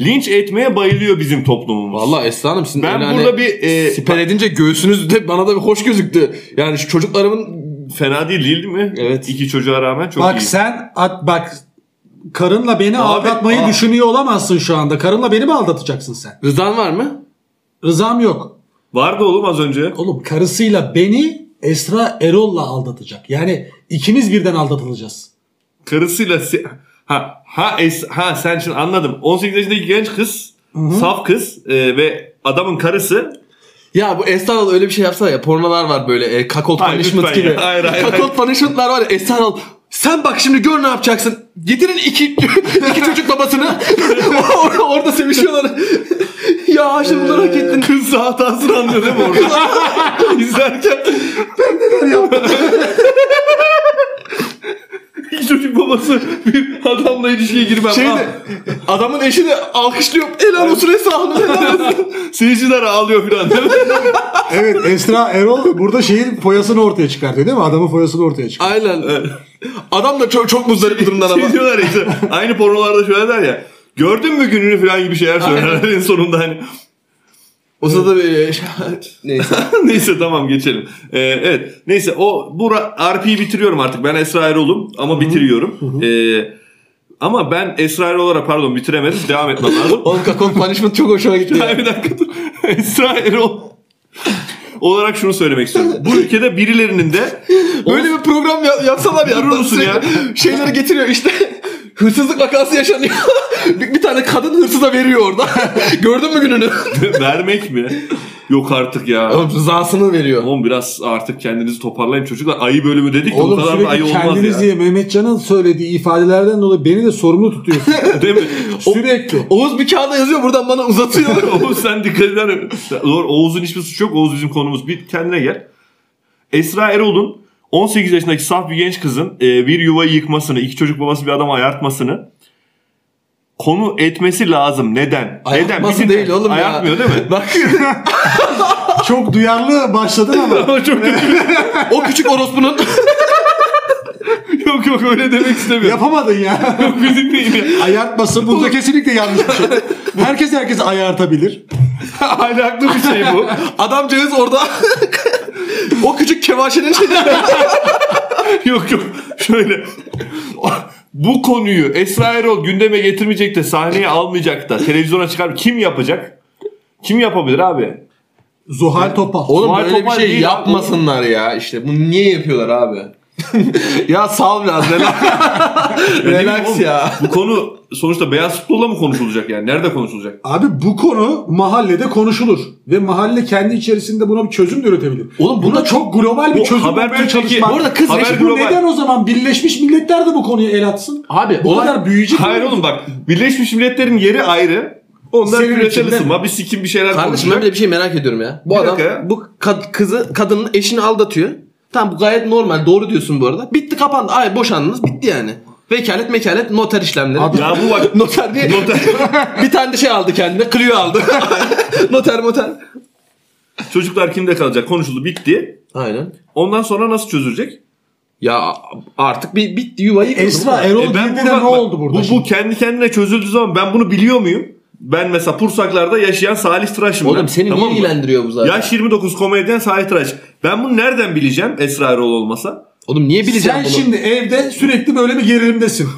A: linç etmeye bayılıyor bizim toplumumuz.
B: Vallahi Esra Hanım sizin
A: Ben
B: öyle
A: burada
B: hani
A: bir, e,
B: siper edince göğsünüz de bana da bir hoş gözüktü. Yani şu çocuklarımın
A: Fena değil değil mi?
B: Evet.
A: İki çocuğa rağmen çok
C: bak
A: iyi.
C: sen at bak karınla beni aldatmayı
A: aa.
C: düşünüyor olamazsın şu anda. Karınla beni mi aldatacaksın sen?
B: rızan var mı?
C: Rızam yok.
A: Vardı oğlum az önce.
C: Oğlum karısıyla beni Esra Erol'la aldatacak. Yani ikimiz birden aldatılacağız.
A: Karısıyla se- ha ha es- ha sen şimdi anladım. 18 yaşındaki genç kız, saf kız e, ve adamın karısı
B: Ya bu Esra Hanım öyle bir şey yapsana ya. Pornolar var böyle e, kakot
A: Hayır,
B: punishment
A: lütfen
B: gibi.
A: ya. Hayır, hayır,
B: kakot
A: hayır.
B: punishmentlar var ya Esra Hanım. Sen bak şimdi gör ne yapacaksın. Getirin iki, iki çocuk babasını. Or- orada sevişiyorlar. ya şimdi bunları hak ettin.
A: kız da hatasını anlıyor değil mi orada? İzlerken İki çocuk babası bir adamla ilişkiye girmem. Ah,
B: Şey
A: Ha.
B: de, adamın eşi de alkışlıyor. Helal olsun Esra Hanım. helal olsun.
A: Seyirciler ağlıyor Şey falan
B: Şey
A: değil mi?
C: Evet Esra Erol burada şeyin foyasını ortaya çıkartıyor değil mi? Adamın foyasını ortaya çıkartıyor.
B: Aynen. Adam da çok çok muzdarip bir durumdan ama.
A: şey diyorlar ya işte aynı pornolarda şöyle der ya. Gördün mü gününü falan gibi şeyler söylerler en sonunda hani.
B: O sırada bir... e, Neyse.
A: neyse tamam geçelim. Ee, evet neyse o bu ra- RP'yi bitiriyorum artık. Ben Esra Erol'um ama bitiriyorum. Ee, ama ben Esra Erol olarak pardon bitiremedim. Devam etmem lazım.
B: Oğlum kakon punishment çok hoşuma gitti. ya.
A: Hayır, bir dakika dur. Esra Erol olarak şunu söylemek istiyorum. Bu ülkede birilerinin de
B: Böyle bir program ya- yapsalar ya.
A: Durur musun ya?
B: Şeyleri getiriyor işte. Hırsızlık vakası yaşanıyor. bir, bir tane kadın hırsıza veriyor orada. Gördün mü gününü?
A: vermek mi? Yok artık ya.
B: Oğlum rızasını veriyor.
A: Oğlum biraz artık kendinizi toparlayın çocuklar. Ayı bölümü dedik de o
C: Oğlum
A: kadar da ayı
C: sürekli
A: olmaz
C: kendiniz
A: ya.
C: diye Mehmetcan'ın söylediği ifadelerden dolayı beni de sorumlu tutuyorsun.
A: Değil mi?
C: sürekli.
B: Oğuz bir kağıda yazıyor buradan bana uzatıyor.
A: Oğuz sen dikkat eder misin? Doğru Oğuz'un hiçbir suçu yok. Oğuz bizim konumuz. Bir kendine gel. Esra Erol'un 18 yaşındaki saf bir genç kızın e, bir yuvayı yıkmasını, iki çocuk babası bir adamı ayartmasını konu etmesi lazım. Neden?
B: Ayartması
A: Neden?
B: değil oğlum ya.
A: Ayartmıyor değil mi?
B: Bak
C: Çok duyarlı başladın ama.
A: Ama çok kötü.
B: o küçük orospunun
A: yok yok öyle demek istemiyorum.
C: Yapamadın ya.
A: Yok bizim değil ya.
C: Ayartması burada kesinlikle yanlış bir şey. Herkes herkesi ayartabilir.
A: Ahlaklı bir şey bu.
B: adamcağız orada o küçük kevaşenin şeyi
A: yok yok şöyle. bu konuyu Esra Erol gündeme getirmeyecek de sahneye almayacak da televizyona çıkar kim yapacak? Kim yapabilir abi?
C: Zuhal Topal.
B: Oğlum
A: Vay
B: böyle bir
A: topal
B: şey
A: değil abi.
B: yapmasınlar ya işte. Bunu niye yapıyorlar abi? ya sal biraz relax.
A: Ya ne
B: relax
A: bileyim oğlum,
B: ya.
A: Bu konu sonuçta beyaz futbolla mı konuşulacak yani? Nerede konuşulacak?
C: Abi bu konu mahallede konuşulur. Ve mahalle kendi içerisinde buna bir çözüm de üretebilir.
B: Oğlum
C: Buna çok global bir
A: Bu
C: çözüm
A: haber
C: bulmaya
A: Türkiye-
C: çalışmak.
A: Bu
B: arada kız
C: Peki
A: haber
C: bu
A: global.
C: neden o zaman Birleşmiş Milletler de bu konuya el atsın?
B: Abi
C: Bu
B: olay-
C: kadar büyüyecek.
A: Hayır oğlum bak Birleşmiş Milletler'in yeri ayrı. Onlar
C: Senin
A: küresel
C: içinde-
A: ısınma bir sikim bir şeyler
B: Kardeşim ben
A: konuşacak.
B: bile bir şey merak ediyorum ya. Bu
A: Bir
B: adam
A: dakika ya.
B: bu kad- kızı kadının eşini aldatıyor. Tamam bu gayet normal doğru diyorsun bu arada. Bitti kapandı. Ay boşandınız bitti yani. Vekalet mekalet noter işlemleri.
C: Abi-
A: Ya bu bak
B: noter diye bir tane de şey aldı kendine. Clio aldı. noter moter.
A: çocuklar kimde kalacak konuşuldu bitti.
B: Aynen.
A: Ondan sonra nasıl çözülecek?
B: Ya artık bir bitti yuvayı yıkıldı.
C: Esra Erol
A: E
C: girdi de
A: bak-
C: ne
A: bak,
C: oldu burada?
A: Bu, bu
C: şimdi?
A: kendi kendine çözüldüğü zaman ben bunu biliyor muyum? Ben mesela Pursaklar'da yaşayan Salih Tıraş'ım ben.
B: Oğlum seni
A: Tamam
B: niye
A: mı?
B: ilgilendiriyor bu zaten?
A: Yaş 29 komedyen Salih Tıraş. Ben bunu nereden bileceğim Esra Erol olmasa?
B: Oğlum niye bileceğim
C: Sen
B: bunu?
C: şimdi evde sürekli böyle bir gerilimdesin.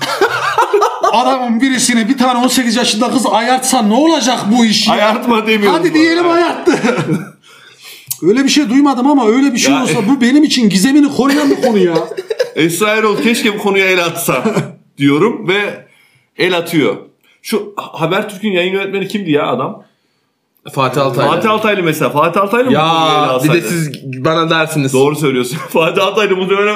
C: Adamın birisini bir tane 18 yaşında kız ayartsa ne olacak bu iş? ya?
A: Ayartma demiyorum.
C: Hadi
A: bu
C: diyelim
A: arada.
C: ayarttı. öyle bir şey duymadım ama öyle bir şey
A: Ya-
C: olsa bu benim için gizemini koruyan bir konu ya.
A: Esra Erol keşke bu konuya el atsa diyorum ve el atıyor. Şu Habertürk'ün yayın yönetmeni kimdi ya adam?
B: Fatih Altay.
A: Fatih Altaylı mesela. Fatih Altaylı mı bu konuya el
B: Ya bir
A: alsaydı?
B: de siz bana dersiniz.
A: Doğru söylüyorsun. Fatih Altaylı bunu öyle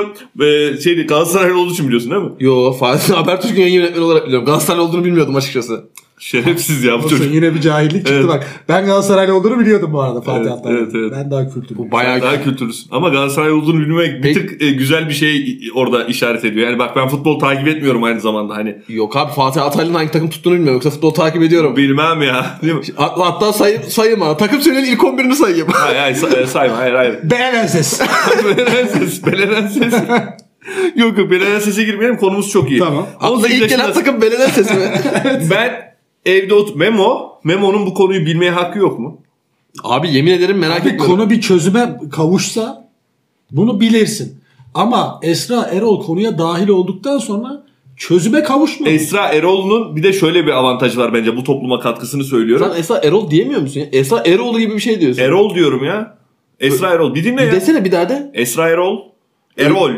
A: e, şeydi Galatasaraylı olduğu için biliyorsun değil mi?
B: Yo Fatih Habertürk'ün yayın yönetmeni olarak biliyorum. Galatasaray olduğunu bilmiyordum açıkçası.
A: Şerefsiz ya bu
C: Olsun,
A: çocuk.
C: yine bir cahillik çıktı
A: Evet.
C: bak. Ben Galatasaraylı olduğunu biliyordum bu arada Fatih
A: Evet,
C: Altay.
A: evet, evet.
C: Ben daha kültürlü.
B: Bayağı
A: Daha kültürlüsün. Ama Galatasaray olduğunu bilmek bir
B: Peki-
A: tık e, güzel bir şey orada işaret ediyor. Yani bak ben futbol takip etmiyorum aynı zamanda hani.
B: Yok abi Fatih Altaylı'nın hangi takım tuttuğunu bilmiyorum. Yoksa futbol takip ediyorum.
A: Bilmem ya. Değil mi?
B: Hat- Hatta say, sayayım ha. Takım söyleyin ilk 11'ini sayayım.
A: Hayır hayır say- sayma hayır hayır.
C: Beğenensiz.
A: Belenenses, Belenenses. yok yok Belenenses'e girmeyelim konumuz çok iyi.
C: Tamam.
B: Aklına
A: 18
B: ilk gelen
A: yaşında-
B: takım belenen sesi mi?
A: Ben evde ot Memo, Memo'nun bu konuyu bilmeye hakkı yok mu?
B: abi yemin ederim merak
C: bir
B: etmiyorum.
C: konu bir çözüme kavuşsa bunu bilirsin. Ama Esra Erol konuya dahil olduktan sonra çözüme kavuşmuyor.
A: Esra Erol'un bir de şöyle bir avantajı var bence bu topluma katkısını söylüyorum.
B: Sen Esra Erol diyemiyor musun ya? Esra Eroğlu gibi bir şey diyorsun.
A: Erol diyorum ya. Esra Erol bir dinle
B: Bir
A: ya.
B: desene bir daha de.
A: Esra Erol. Erol.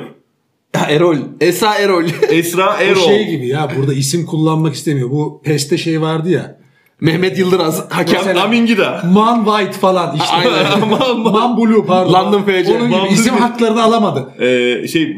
B: Ha, Erol. Esra Erol.
A: Esra
C: Bu
A: Erol.
C: şey gibi ya burada isim kullanmak istemiyor. Bu PES'te şey vardı ya.
B: Mehmet Yıldıraz. Hakem.
A: Mesela... Amingida.
C: Man White falan işte.
B: Aynen.
C: Man Blue pardon.
B: London FC.
C: Onun gibi
A: London
C: isim
A: FC.
C: haklarını alamadı.
A: Ee, şey e,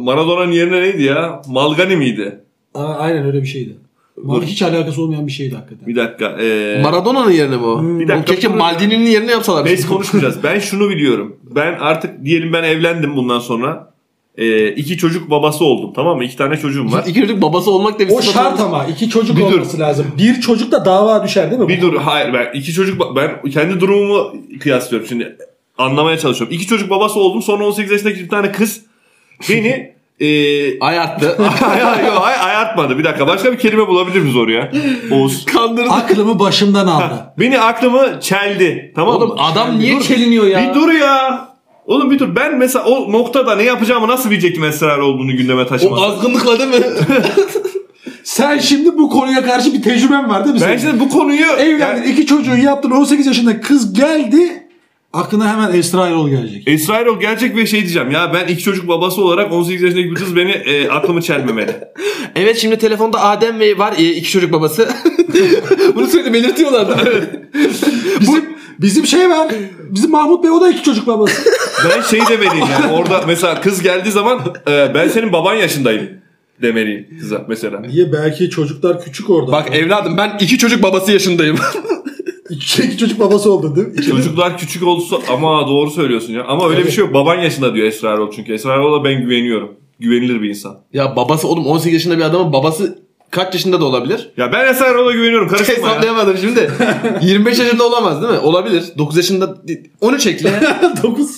A: Maradona'nın yerine neydi ya? Malgani miydi?
C: Aa, aynen öyle bir şeydi. Man hiç alakası olmayan bir şeydi hakikaten.
A: Bir dakika. Ee,
B: Maradona'nın yerine mi o?
A: Bir
B: Bir
A: dakika,
B: Keşke
A: bunu-
B: Maldini'nin yerine yapsalar.
A: Neyse konuşmayacağız. Ben şunu biliyorum. Ben artık diyelim ben evlendim bundan sonra. Ee, iki çocuk babası oldum tamam mı? İki tane çocuğum var.
B: İki çocuk babası olmak da bir
C: O
B: sıfatı-
C: şart ama iki çocuk
A: Bir dur.
C: olması lazım. Bir çocuk da dava düşer değil mi?
A: Bir dur hayır ben iki çocuk ba- ben kendi durumumu kıyaslıyorum şimdi. Anlamaya çalışıyorum. İki çocuk babası oldum sonra 18 yaşındaki bir tane kız beni eee
B: Ayarttı.
A: ay, ay, yok, ay, ayartmadı. Bir dakika başka bir kelime bulabilir miyiz oraya? Oğuz.
B: Kandırdı.
C: Aklımı başımdan aldı.
A: Beni aklımı çeldi. Tamam mı?
B: Oğlum adam niye
C: Dur.
B: çeliniyor ya?
A: Bir dur ya. Oğlum bir dur. Ben mesela o noktada ne yapacağımı nasıl bilecektim esrar olduğunu gündeme
B: O
A: taşımasın.
B: azgınlıkla değil mi?
C: Sen şimdi bu konuya karşı bir tecrüben var değil mi?
A: Ben
C: senin?
A: şimdi bu konuyu
C: Evlendin iki çocuğu yaptın 18 yaşında kız geldi. Aklına hemen Esra Erol gelecek.
A: Esra Erol gelecek ve şey diyeceğim ya ben iki çocuk babası olarak 18 yaşındaki bir kız beni e, aklımı çelmemeli.
B: evet şimdi telefonda Adem Bey var e, iki çocuk babası. Bunu sürekli belirtiyorlar.
C: Bizim, Bizim şey var. Bizim Mahmut Bey o da iki çocuk babası.
A: Ben şey demeliyim yani orada mesela kız geldiği zaman e, ben senin baban yaşındayım demeliyim kıza mesela.
C: Niye belki çocuklar küçük orada.
B: Bak evladım ben iki çocuk babası yaşındayım.
C: İki, iki çocuk babası oldu değil mi? İki-
A: Çocuklar küçük olsa ama doğru söylüyorsun ya. Ama öyle bir şey yok. Baban yaşında diyor Esrar ol çünkü. Esrar Erol'a ben güveniyorum. Güvenilir bir insan.
B: ya babası oğlum 18 yaşında bir adamın babası kaç yaşında da olabilir?
A: Ya ben Esrar Erol'a güveniyorum. Karışma ya.
B: Hesaplayamadım şimdi. 25 yaşında olamaz değil mi? Olabilir. 9 yaşında 13 ekle.
C: 9.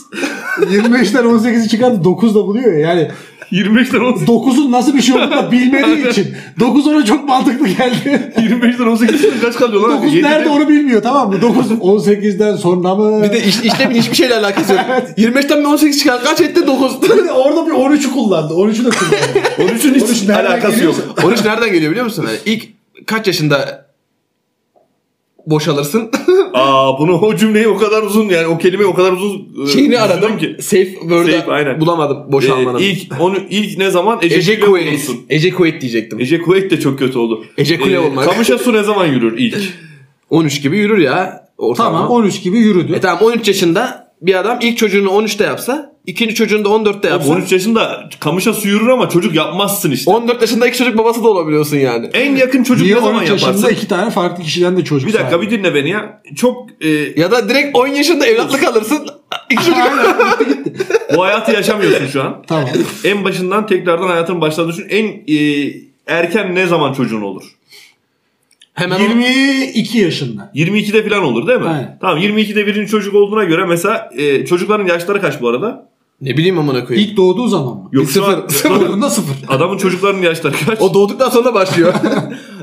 C: 25'ten 18'i çıkardı 9 da buluyor ya. Yani
A: 25'ten 18.
C: 9'un nasıl bir şey olduğunu da bilmediği için. 9 ona çok mantıklı geldi.
A: 25'ten 18 kaç kalıyor lan?
C: 9
A: Yedi
C: nerede
A: de-
C: onu bilmiyor tamam mı? 9 18'den sonra mı?
B: Bir de iş, işlemin hiçbir şeyle alakası yok. 25'ten bir 18 çıkar. Kaç etti 9?
C: Bir de orada bir 13'ü kullandı. 13'ü de kullandı.
A: 13'ün hiç
C: 13 nereden
A: alakası yok.
B: 13 nereden geliyor biliyor musun? Yani ilk kaç yaşında boşalırsın?
A: Aa bunu o cümleyi o kadar uzun yani o kelimeyi o kadar uzun e,
B: Şeyini
A: düşündüm
B: aradım.
A: ki.
B: Safe E,
A: Safe,
B: word'ı
A: aynen.
B: bulamadım
A: Ee,
B: boşalmanın.
A: ilk onu ilk ne zaman
B: Ece
A: Ecekule
B: Kuveyt.
A: bulunsun.
B: Ece Kuveyt diyecektim.
A: Ece Kuveyt de çok kötü oldu. E,
B: Ejekule olmak.
A: Kamışa su ne zaman yürür ilk?
B: 13 gibi yürür ya ortalama.
C: tamam 13 gibi yürüdü.
B: E tamam 13 yaşında bir adam ilk çocuğunu 13'te yapsa, ikinci çocuğunu da 14'te yapsa.
A: 13 yaşında kamışa su yürür ama çocuk yapmazsın işte.
B: 14 yaşında ilk çocuk babası da olabiliyorsun yani.
A: En yakın çocuk
C: Niye
A: ne zaman
C: 13 yaşında
A: yaparsın?
C: iki tane farklı kişiden de çocuk
A: Bir dakika
C: sahibi?
A: bir dinle beni ya. Çok e,
B: Ya da direkt 10 yaşında evlatlık alırsın. İki çocuk
A: bu hayatı yaşamıyorsun şu an.
C: Tamam.
A: En başından tekrardan hayatın başladığını düşün. En e, erken ne zaman çocuğun olur?
B: hemen
C: 22 yaşında.
A: 22'de falan olur değil mi?
C: Aynen.
A: Tamam 22'de birinin çocuk olduğuna göre mesela e, çocukların yaşları kaç bu arada?
B: ne bileyim amına koyayım.
C: İlk doğduğu zaman mı?
A: Yok şu an-
C: Doğduğunda sıfır.
A: adamın çocuklarının yaşları kaç?
B: O doğduktan sonra başlıyor.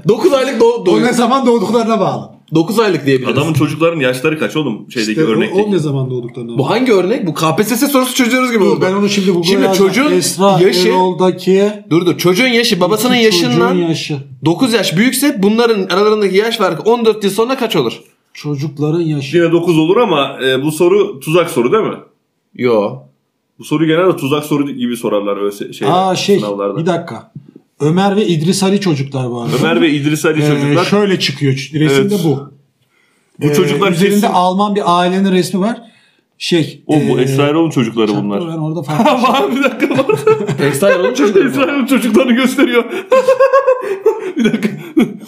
B: 9 aylık doğ,
C: O
B: doğ
C: ne zaman doğduklarına bağlı.
B: 9 aylık diyebiliriz.
A: Adamın çocuklarının yaşları kaç oğlum şeydeki
C: İşte o-
A: örnekteki?
C: o ne zaman doğduklarına bağlı.
B: Bu hangi örnek? Bu KPSS sorusu çözüyoruz gibi oldu.
C: Ben onu şimdi Google'a
B: Şimdi
C: yazdım.
B: çocuğun
C: Esra
B: yaşı-
C: Erol'daki
B: Dur dur çocuğun yaşı babasının yaşından
C: çocuğun yaşı.
B: 9 yaş büyükse bunların aralarındaki yaş farkı 14 yıl sonra kaç olur?
C: Çocukların yaşı.
A: Yine 9 olur ama e, bu soru tuzak soru değil mi?
B: Yo.
A: Bu soruyu genelde tuzak soru gibi sorarlar öyle se- şeyler,
C: Aa şey
A: sınavlarda.
C: bir dakika. Ömer ve İdris Ali çocuklar bu arada.
A: Ömer ve İdris Ali
C: Ee,
A: çocuklar.
C: şöyle çıkıyor resimde
A: Evet.
C: bu.
A: bu
C: Ee,
A: çocuklar
C: üzerinde
A: kesin...
C: Alman bir ailenin resmi var. Şey.
A: O bu
C: ee,
A: Esra Erol'un çocukları
C: Çaktı
A: bunlar.
C: Ömer orada farklı.
A: Var bir dakika var.
B: Esra Erol'un çocukları
A: Esra
B: mı?
A: Erol çocuklarını gösteriyor. bir dakika.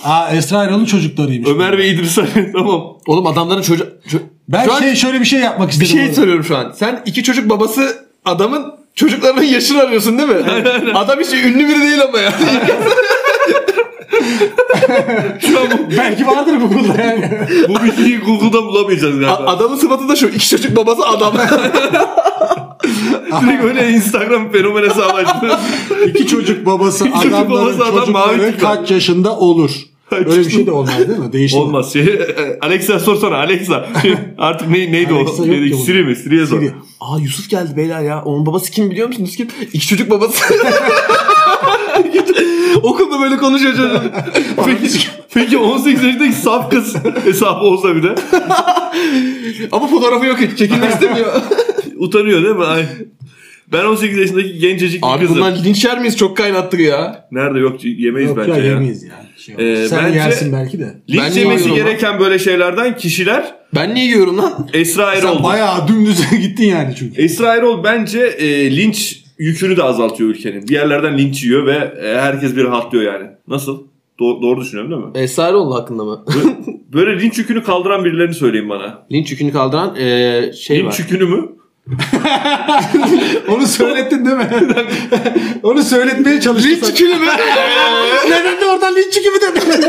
C: Aa Esra Erol'un çocuklarıymış.
A: Ömer ve İdris Ali tamam.
B: Oğlum adamların çocuk... ço-
C: Ben
B: Şu an-
C: şey şöyle bir şey yapmak
B: bir
C: istedim.
B: şey
C: orada.
B: soruyorum şu an. Sen iki çocuk babası adamın çocuklarının yaşını arıyorsun değil mi? Adam hiç ünlü biri değil ama ya.
C: Belki vardır Google'da yani.
A: Bu bilgiyi Google'da bulamayacağız
B: A-
A: galiba.
B: adamın sıfatı da şu. iki çocuk babası adam.
A: Direkt öyle Instagram fenomen hesabı açtı.
C: İki çocuk babası
A: İki çocuk
C: adamların
A: babası adam mavi
C: çocukları
A: tüylü.
C: kaç yaşında olur? Öyle bir şey de olmaz değil mi? Değişir.
A: Olmaz. Şey, e, Alexa sorsana Alexa. Artık ne, neydi
C: Alexa
A: o? Şey,
C: yok ki bu.
A: Siri mi? Siri'ye sor.
C: Siri.
B: Aa Yusuf geldi beyler ya. Onun babası kim biliyor musunuz kim? İki çocuk babası. Okulda böyle konuşuyor çocuğum.
A: Peki, peki 18 yaşındaki saf kız hesabı olsa bir de.
B: Ama fotoğrafı yok hiç. Çekilmek istemiyor.
A: Utanıyor değil mi? Ay. Ben 18 yaşındaki gencecik bir
B: Abi
A: kızım.
B: bundan linç yer miyiz? Çok kaynattık ya.
A: Nerede yok yemeyiz
C: Yok
A: bence
C: ya
A: ya.
C: yemeyiz yani. Şey olmaz.
A: Ee,
C: Sen
A: bence-
C: yersin belki de.
A: Linç
B: Ben
A: yemesi
B: yiyorum
A: gereken böyle şeylerden kişiler
B: Ben niye yiyorum lan?
A: Esra
C: Sen
A: Erol.
C: bayağı dümdüz gittin yani çünkü.
A: Esra Erol bence e, linç yükünü de azaltıyor ülkenin. Bir yerlerden linç yiyor ve e, herkes bir rahatlıyor yani. Nasıl? Do- doğru düşünüyorum değil mi?
B: Esrar oldu hakkında mı?
A: Böyle linç yükünü kaldıran birilerini söyleyin bana.
B: Linç yükünü kaldıran eee, şey
A: Linç
B: var.
A: yükünü mü?
C: Onu söylettin değil mi? Onu söyletmeye çalıştın.
B: Linç yükünü mü?
C: Neden de oradan linç gibi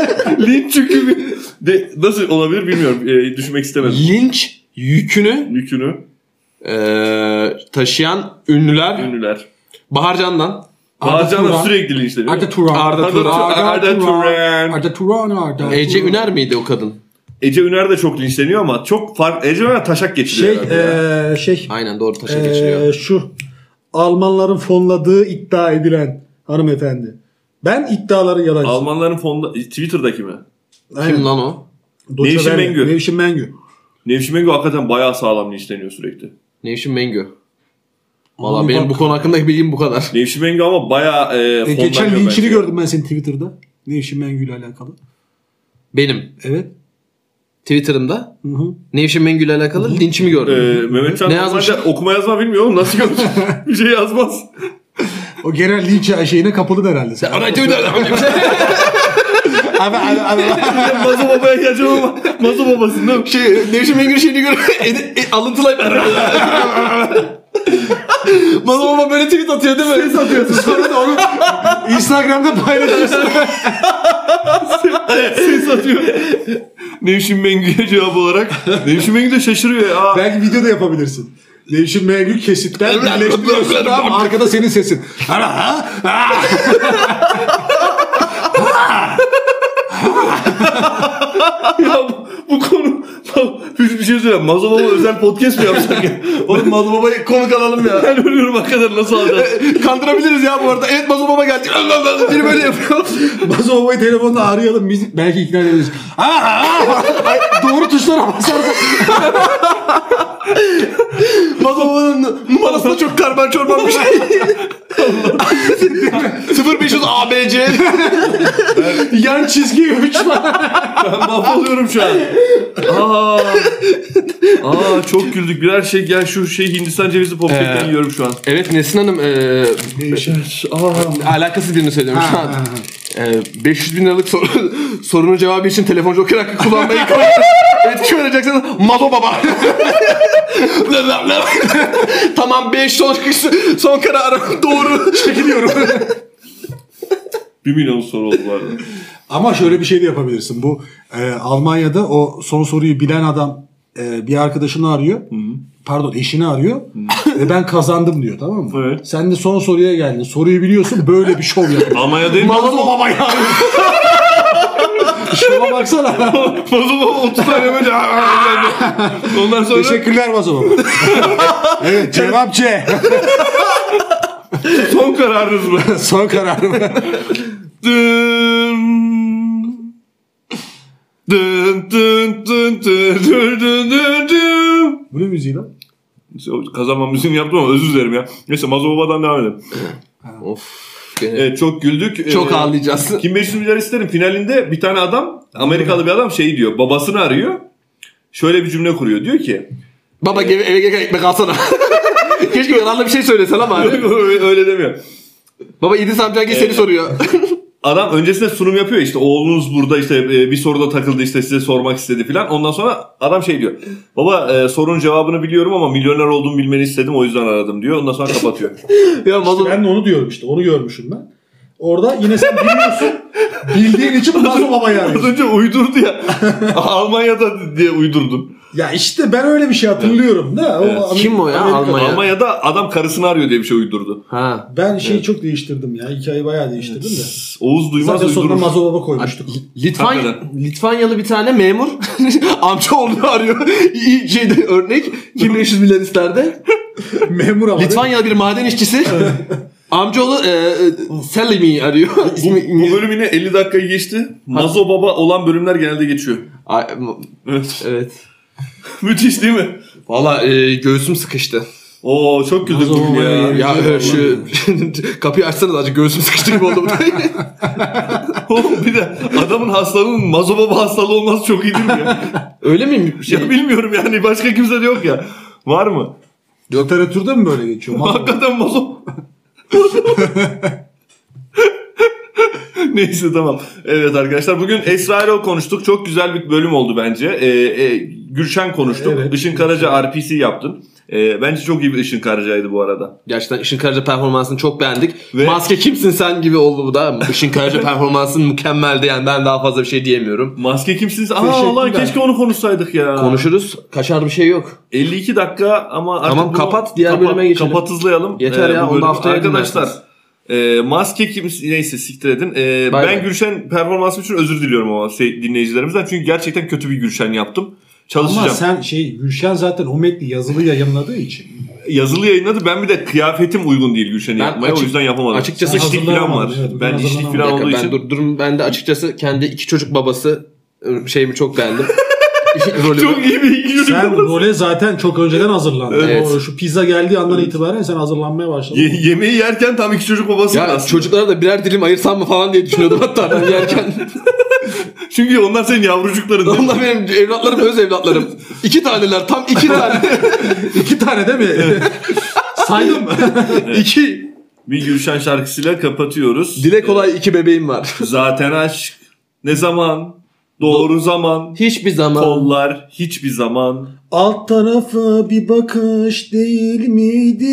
C: dedin?
A: linç yükü mü? De, nasıl olabilir bilmiyorum. E, düşünmek istemedim.
B: linç yükünü
A: Yükünü
B: eee, taşıyan ünlüler
A: ünlüler.
B: Baharcan'dan.
A: Bağcan'la sürekli linçleniyor.
C: Arda Turan.
B: Arda Turan.
A: Arda Turan.
C: Arda Turan. Arda Turan.
B: Ece E Üner miydi o kadın?
A: Ece Üner de çok linçleniyor ama çok farklı. Ece Üner taşak
C: Şey,
A: geçiriyor. herhalde ya.
C: eee şey
B: Aynen doğru taşa
C: Ee,
B: geçiriyor.
C: şu Almanların fonladığı iddia edilen hanımefendi. Ben iddiaların yalancısı.
A: Almanların fonda e, Twitter'daki mi?
C: Aynen.
B: Kim lan o?
C: Deutsche
A: Nevşin
C: Welle,
A: Mengü.
C: Nevşin Mengü.
A: Nevşin Mengü hakikaten bayağı sağlam linçleniyor sürekli.
B: Nevşin Mengü. Valla
C: Abi
B: benim
C: bak.
B: bu konu hakkındaki bilgim bu kadar.
A: Nevşin Mengü ama bayağı e,
C: E,
A: fondan
C: geçen
A: diyor
C: linçini
A: bence.
C: gördüm ben senin Twitter'da. Nevşin Mengü ile alakalı.
B: Benim.
C: Evet.
B: Twitter'ımda. Nevşin Mengü'yle alakalı linçimi
A: Ee,
B: gördüm.
A: Mehmet Can
B: Ne
A: normalde
B: yazmış?
A: okuma yazma bilmiyor oğlum nasıl görür? bir şey yazmaz.
C: O genel linç şeyine kapıldın herhalde sen.
B: Ana diyor da-
C: Abi, abi, abi.
A: Mazo babaya geleceğim ama Mazo babasın değil mi?
B: şey, Nevşin Mengü şeyini görüp edi- e, alıntılayıp Mazo Baba böyle tweet atıyor değil mi? Ses atıyorsun.
C: Sonra da onu Instagram'da paylaşıyorsun.
A: Ses atıyor. Nevşin Mengü'ye cevap olarak. Nevşin Mengü de şaşırıyor ya. Aa,
C: Belki video da yapabilirsin. Nevşin Mengü kesitten birleştiriyorsun tamam arkada senin sesin. Ara, ha? Ha?
A: ya bu, bu konu bir, bir şey söyleyeyim. Mazo Baba özel podcast mı yapsak ya? Oğlum Mazo Baba'yı konuk alalım ya. Ben ölüyorum hakikaten nasıl alacağız?
B: Kandırabiliriz ya bu arada. Evet Mazo Baba geldi. Allah Allah. Biri böyle yapıyor.
C: Bazo babayı telefonla arayalım biz belki ikna edebiliriz. Ha, ha, ha. Doğru tuşlara basarsak
B: Mazo Baba'nın numarası da çok karman çorman bir şey. 0500 ABC.
C: yan çizgi 3
A: Ben mahvoluyorum şu an. Aa, aa çok güldük. Birer şey gel şu şey Hindistan cevizi popkekten
B: Ee,
A: yiyorum şu an.
B: Evet Nesrin Hanım e, alakasız birini söylüyorum şu an. E, 500 bin liralık sor- sorunun cevabı için telefon joker hakkı kullanmayı koy. evet kim ödeyeceksen Mazo Baba. La la la. tamam 5 son, son kararım doğru.
C: çekiliyorum.
A: 1 milyon soru oldu bu arada.
C: Ama şöyle bir şey de yapabilirsin. Bu e, Almanya'da o son soruyu bilen adam e, bir arkadaşını arıyor. Pardon eşini arıyor. Ve ben kazandım diyor tamam mı?
A: Evet.
C: Sen de son soruya geldin. Soruyu biliyorsun böyle bir şov yapıyorsun.
A: Almanya'dayım.
C: Mazo baba ya. Şova baksana.
A: Mazo Baba 30 tane böyle. aa, geldi. Ondan sonra
C: Teşekkürler Mazo baba. evet cevap C.
A: son kararınız mı?
C: son kararım.
A: Dın. Dın dın dın dın dın dın dın dın.
C: Bu ne müziği lan?
A: Kazanma müziğini yaptım ama özür dilerim ya. Neyse Mazo Baba'dan devam edelim.
B: of.
A: Evet, çok güldük.
B: Çok
A: Ee,
B: ağlayacağız.
A: Kim 500 milyar isterim finalinde bir tane adam Amerikalı bir adam şey diyor babasını arıyor. Şöyle bir cümle kuruyor diyor ki
B: Baba eve, eve gel ekmek alsana. Keşke yararlı bir şey söylesen ama.
A: öyle demiyor.
B: Baba İdris amca gel seni soruyor.
A: Adam öncesinde sunum yapıyor işte oğlunuz burada işte e, bir soruda takıldı işte size sormak istedi filan. Ondan sonra adam şey diyor. Baba e, sorunun cevabını biliyorum ama milyoner olduğumu bilmeni istedim o yüzden aradım diyor. Ondan sonra kapatıyor.
B: ya Mazo
C: Ben de onu diyorum işte. Onu görmüşüm ben. Orada yine sen biliyorsun. bildiğin için Mazo babayı
A: Az
C: arıyorsun.
A: önce uydurdu ya. Almanya'da diye uydurdum.
C: Ya işte ben öyle bir şey hatırlıyorum. da. O Amerika-
B: Kim o ya?
C: Amerika-
B: Almanya.
A: Almanya'da adam karısını arıyor diye bir şey uydurdu.
B: Ha.
C: Ben şeyi çok değiştirdim ya. Hikayeyi bayağı değiştirdim de.
A: Oğuz duymaz
C: Zaten sonunda
A: uydurur.
C: Mazo Baba koymuştuk.
B: Litvanya,
A: Hakikaten.
B: Litvanyalı bir tane memur amcaoğlunu arıyor. İyi Şeyde örnek 2500 milyar isterde.
C: Memur ama.
B: Litvanyalı bir maden işçisi. Amcaoğlu e, e, Selimi'yi arıyor.
A: Bu,
B: İsmi-
A: bu bölüm yine 50 dakikayı geçti. Mazo Baba olan bölümler genelde geçiyor.
B: Ay, m-
A: Evet.
B: evet.
A: Müthiş değil mi?
B: Valla e, göğsüm sıkıştı.
A: Oo çok güldük
C: Mazo
A: bugün
C: Baba'ya
A: ya.
C: yeri-
B: Ya e, şu kapıyı açsanız acı göğsüm sıkıştı gibi oldu.
A: Oğlum bir de adamın hastalığının Mazo Baba hastalığı olması çok iyi değil mi ya?
B: Öyle mi? Şey,
A: ya bilmiyorum yani başka kimse de yok ya. Var mı?
C: Literatürde mi böyle geçiyor? Mazo Baba.
A: Hakikaten Mazo Neyse tamam. Evet arkadaşlar bugün Esra ile konuştuk. Çok güzel bir bölüm oldu bence. Ee, e, Gülşen konuştuk.
C: Evet.
A: Işın Karaca RPC yaptın. Ee, bence çok iyi bir Işın Karaca'ydı bu arada.
B: Gerçekten Işın Karaca performansını çok beğendik.
A: Ve-
B: Maske kimsin sen gibi oldu bu da. Işın Karaca performansı mükemmeldi yani ben daha fazla bir şey diyemiyorum.
A: Maske kimsiniz? Aa
C: Teşekkürler.
A: ulan keşke onu konuşsaydık ya.
B: Konuşuruz. Kaçar bir şey yok.
A: 52 dakika ama artık
B: Tamam,
A: bunu-
B: kapat, diğer bölüme geçelim.
A: Kapat hızlayalım.
B: Yeter ya,
A: bu
B: onu
A: bölümü.
B: haftaya
A: Arkadaşlar e, maske kim neyse siktir edin. E,
B: Bay
A: ben
B: bay.
A: Gülşen performansım için özür diliyorum ama şey, dinleyicilerimizden. Çünkü gerçekten kötü bir Gülşen yaptım. Çalışacağım.
C: Ama sen şey Gülşen zaten o metni yazılı yayınladığı için.
A: Yazılı yayınladı. Ben bir de kıyafetim uygun değil Gülşen'i
B: Ben
A: yapmaya.
B: açık-
A: o yüzden yapamadım.
B: açıkçası
A: işlik falan var.
C: hazırlayamadım, evet.
A: ben
C: Ben
A: işlik falan
C: hazırlanamadım.
A: şey olduğu
B: Ben
A: için.
B: dur, durum ben de açıkçası kendi iki çocuk babası e, şeyimi çok beğendim. Rolümü.
A: Çok iyi bir ilgi
C: Sen
A: yürüyorum.
C: role zaten çok önceden hazırlandın.
B: Evet.
C: Doğru, Şu pizza geldiği andan itibaren sen hazırlanmaya başladın.
A: Ye- yemeği yerken tam iki çocuk babası
B: Ya
A: aslında.
B: çocuklara da birer dilim ayırsam mı falan diye düşünüyordum hatta ben yerken.
A: Çünkü onlar senin yavrucukların. değil mi?
D: Onlar benim evlatlarım, öz evlatlarım. İki taneler, tam iki tane.
B: İki tane değil mi?
C: Saydım mı?
D: iki.
A: Bir Gülşen şarkısıyla kapatıyoruz.
B: Dile kolay iki bebeğim var.
A: Zaten aşk ne zaman doğru zaman
B: Hiçbir zaman.
A: kollar hiçbir zaman
C: Alt tarafı bir bakış değil miydi?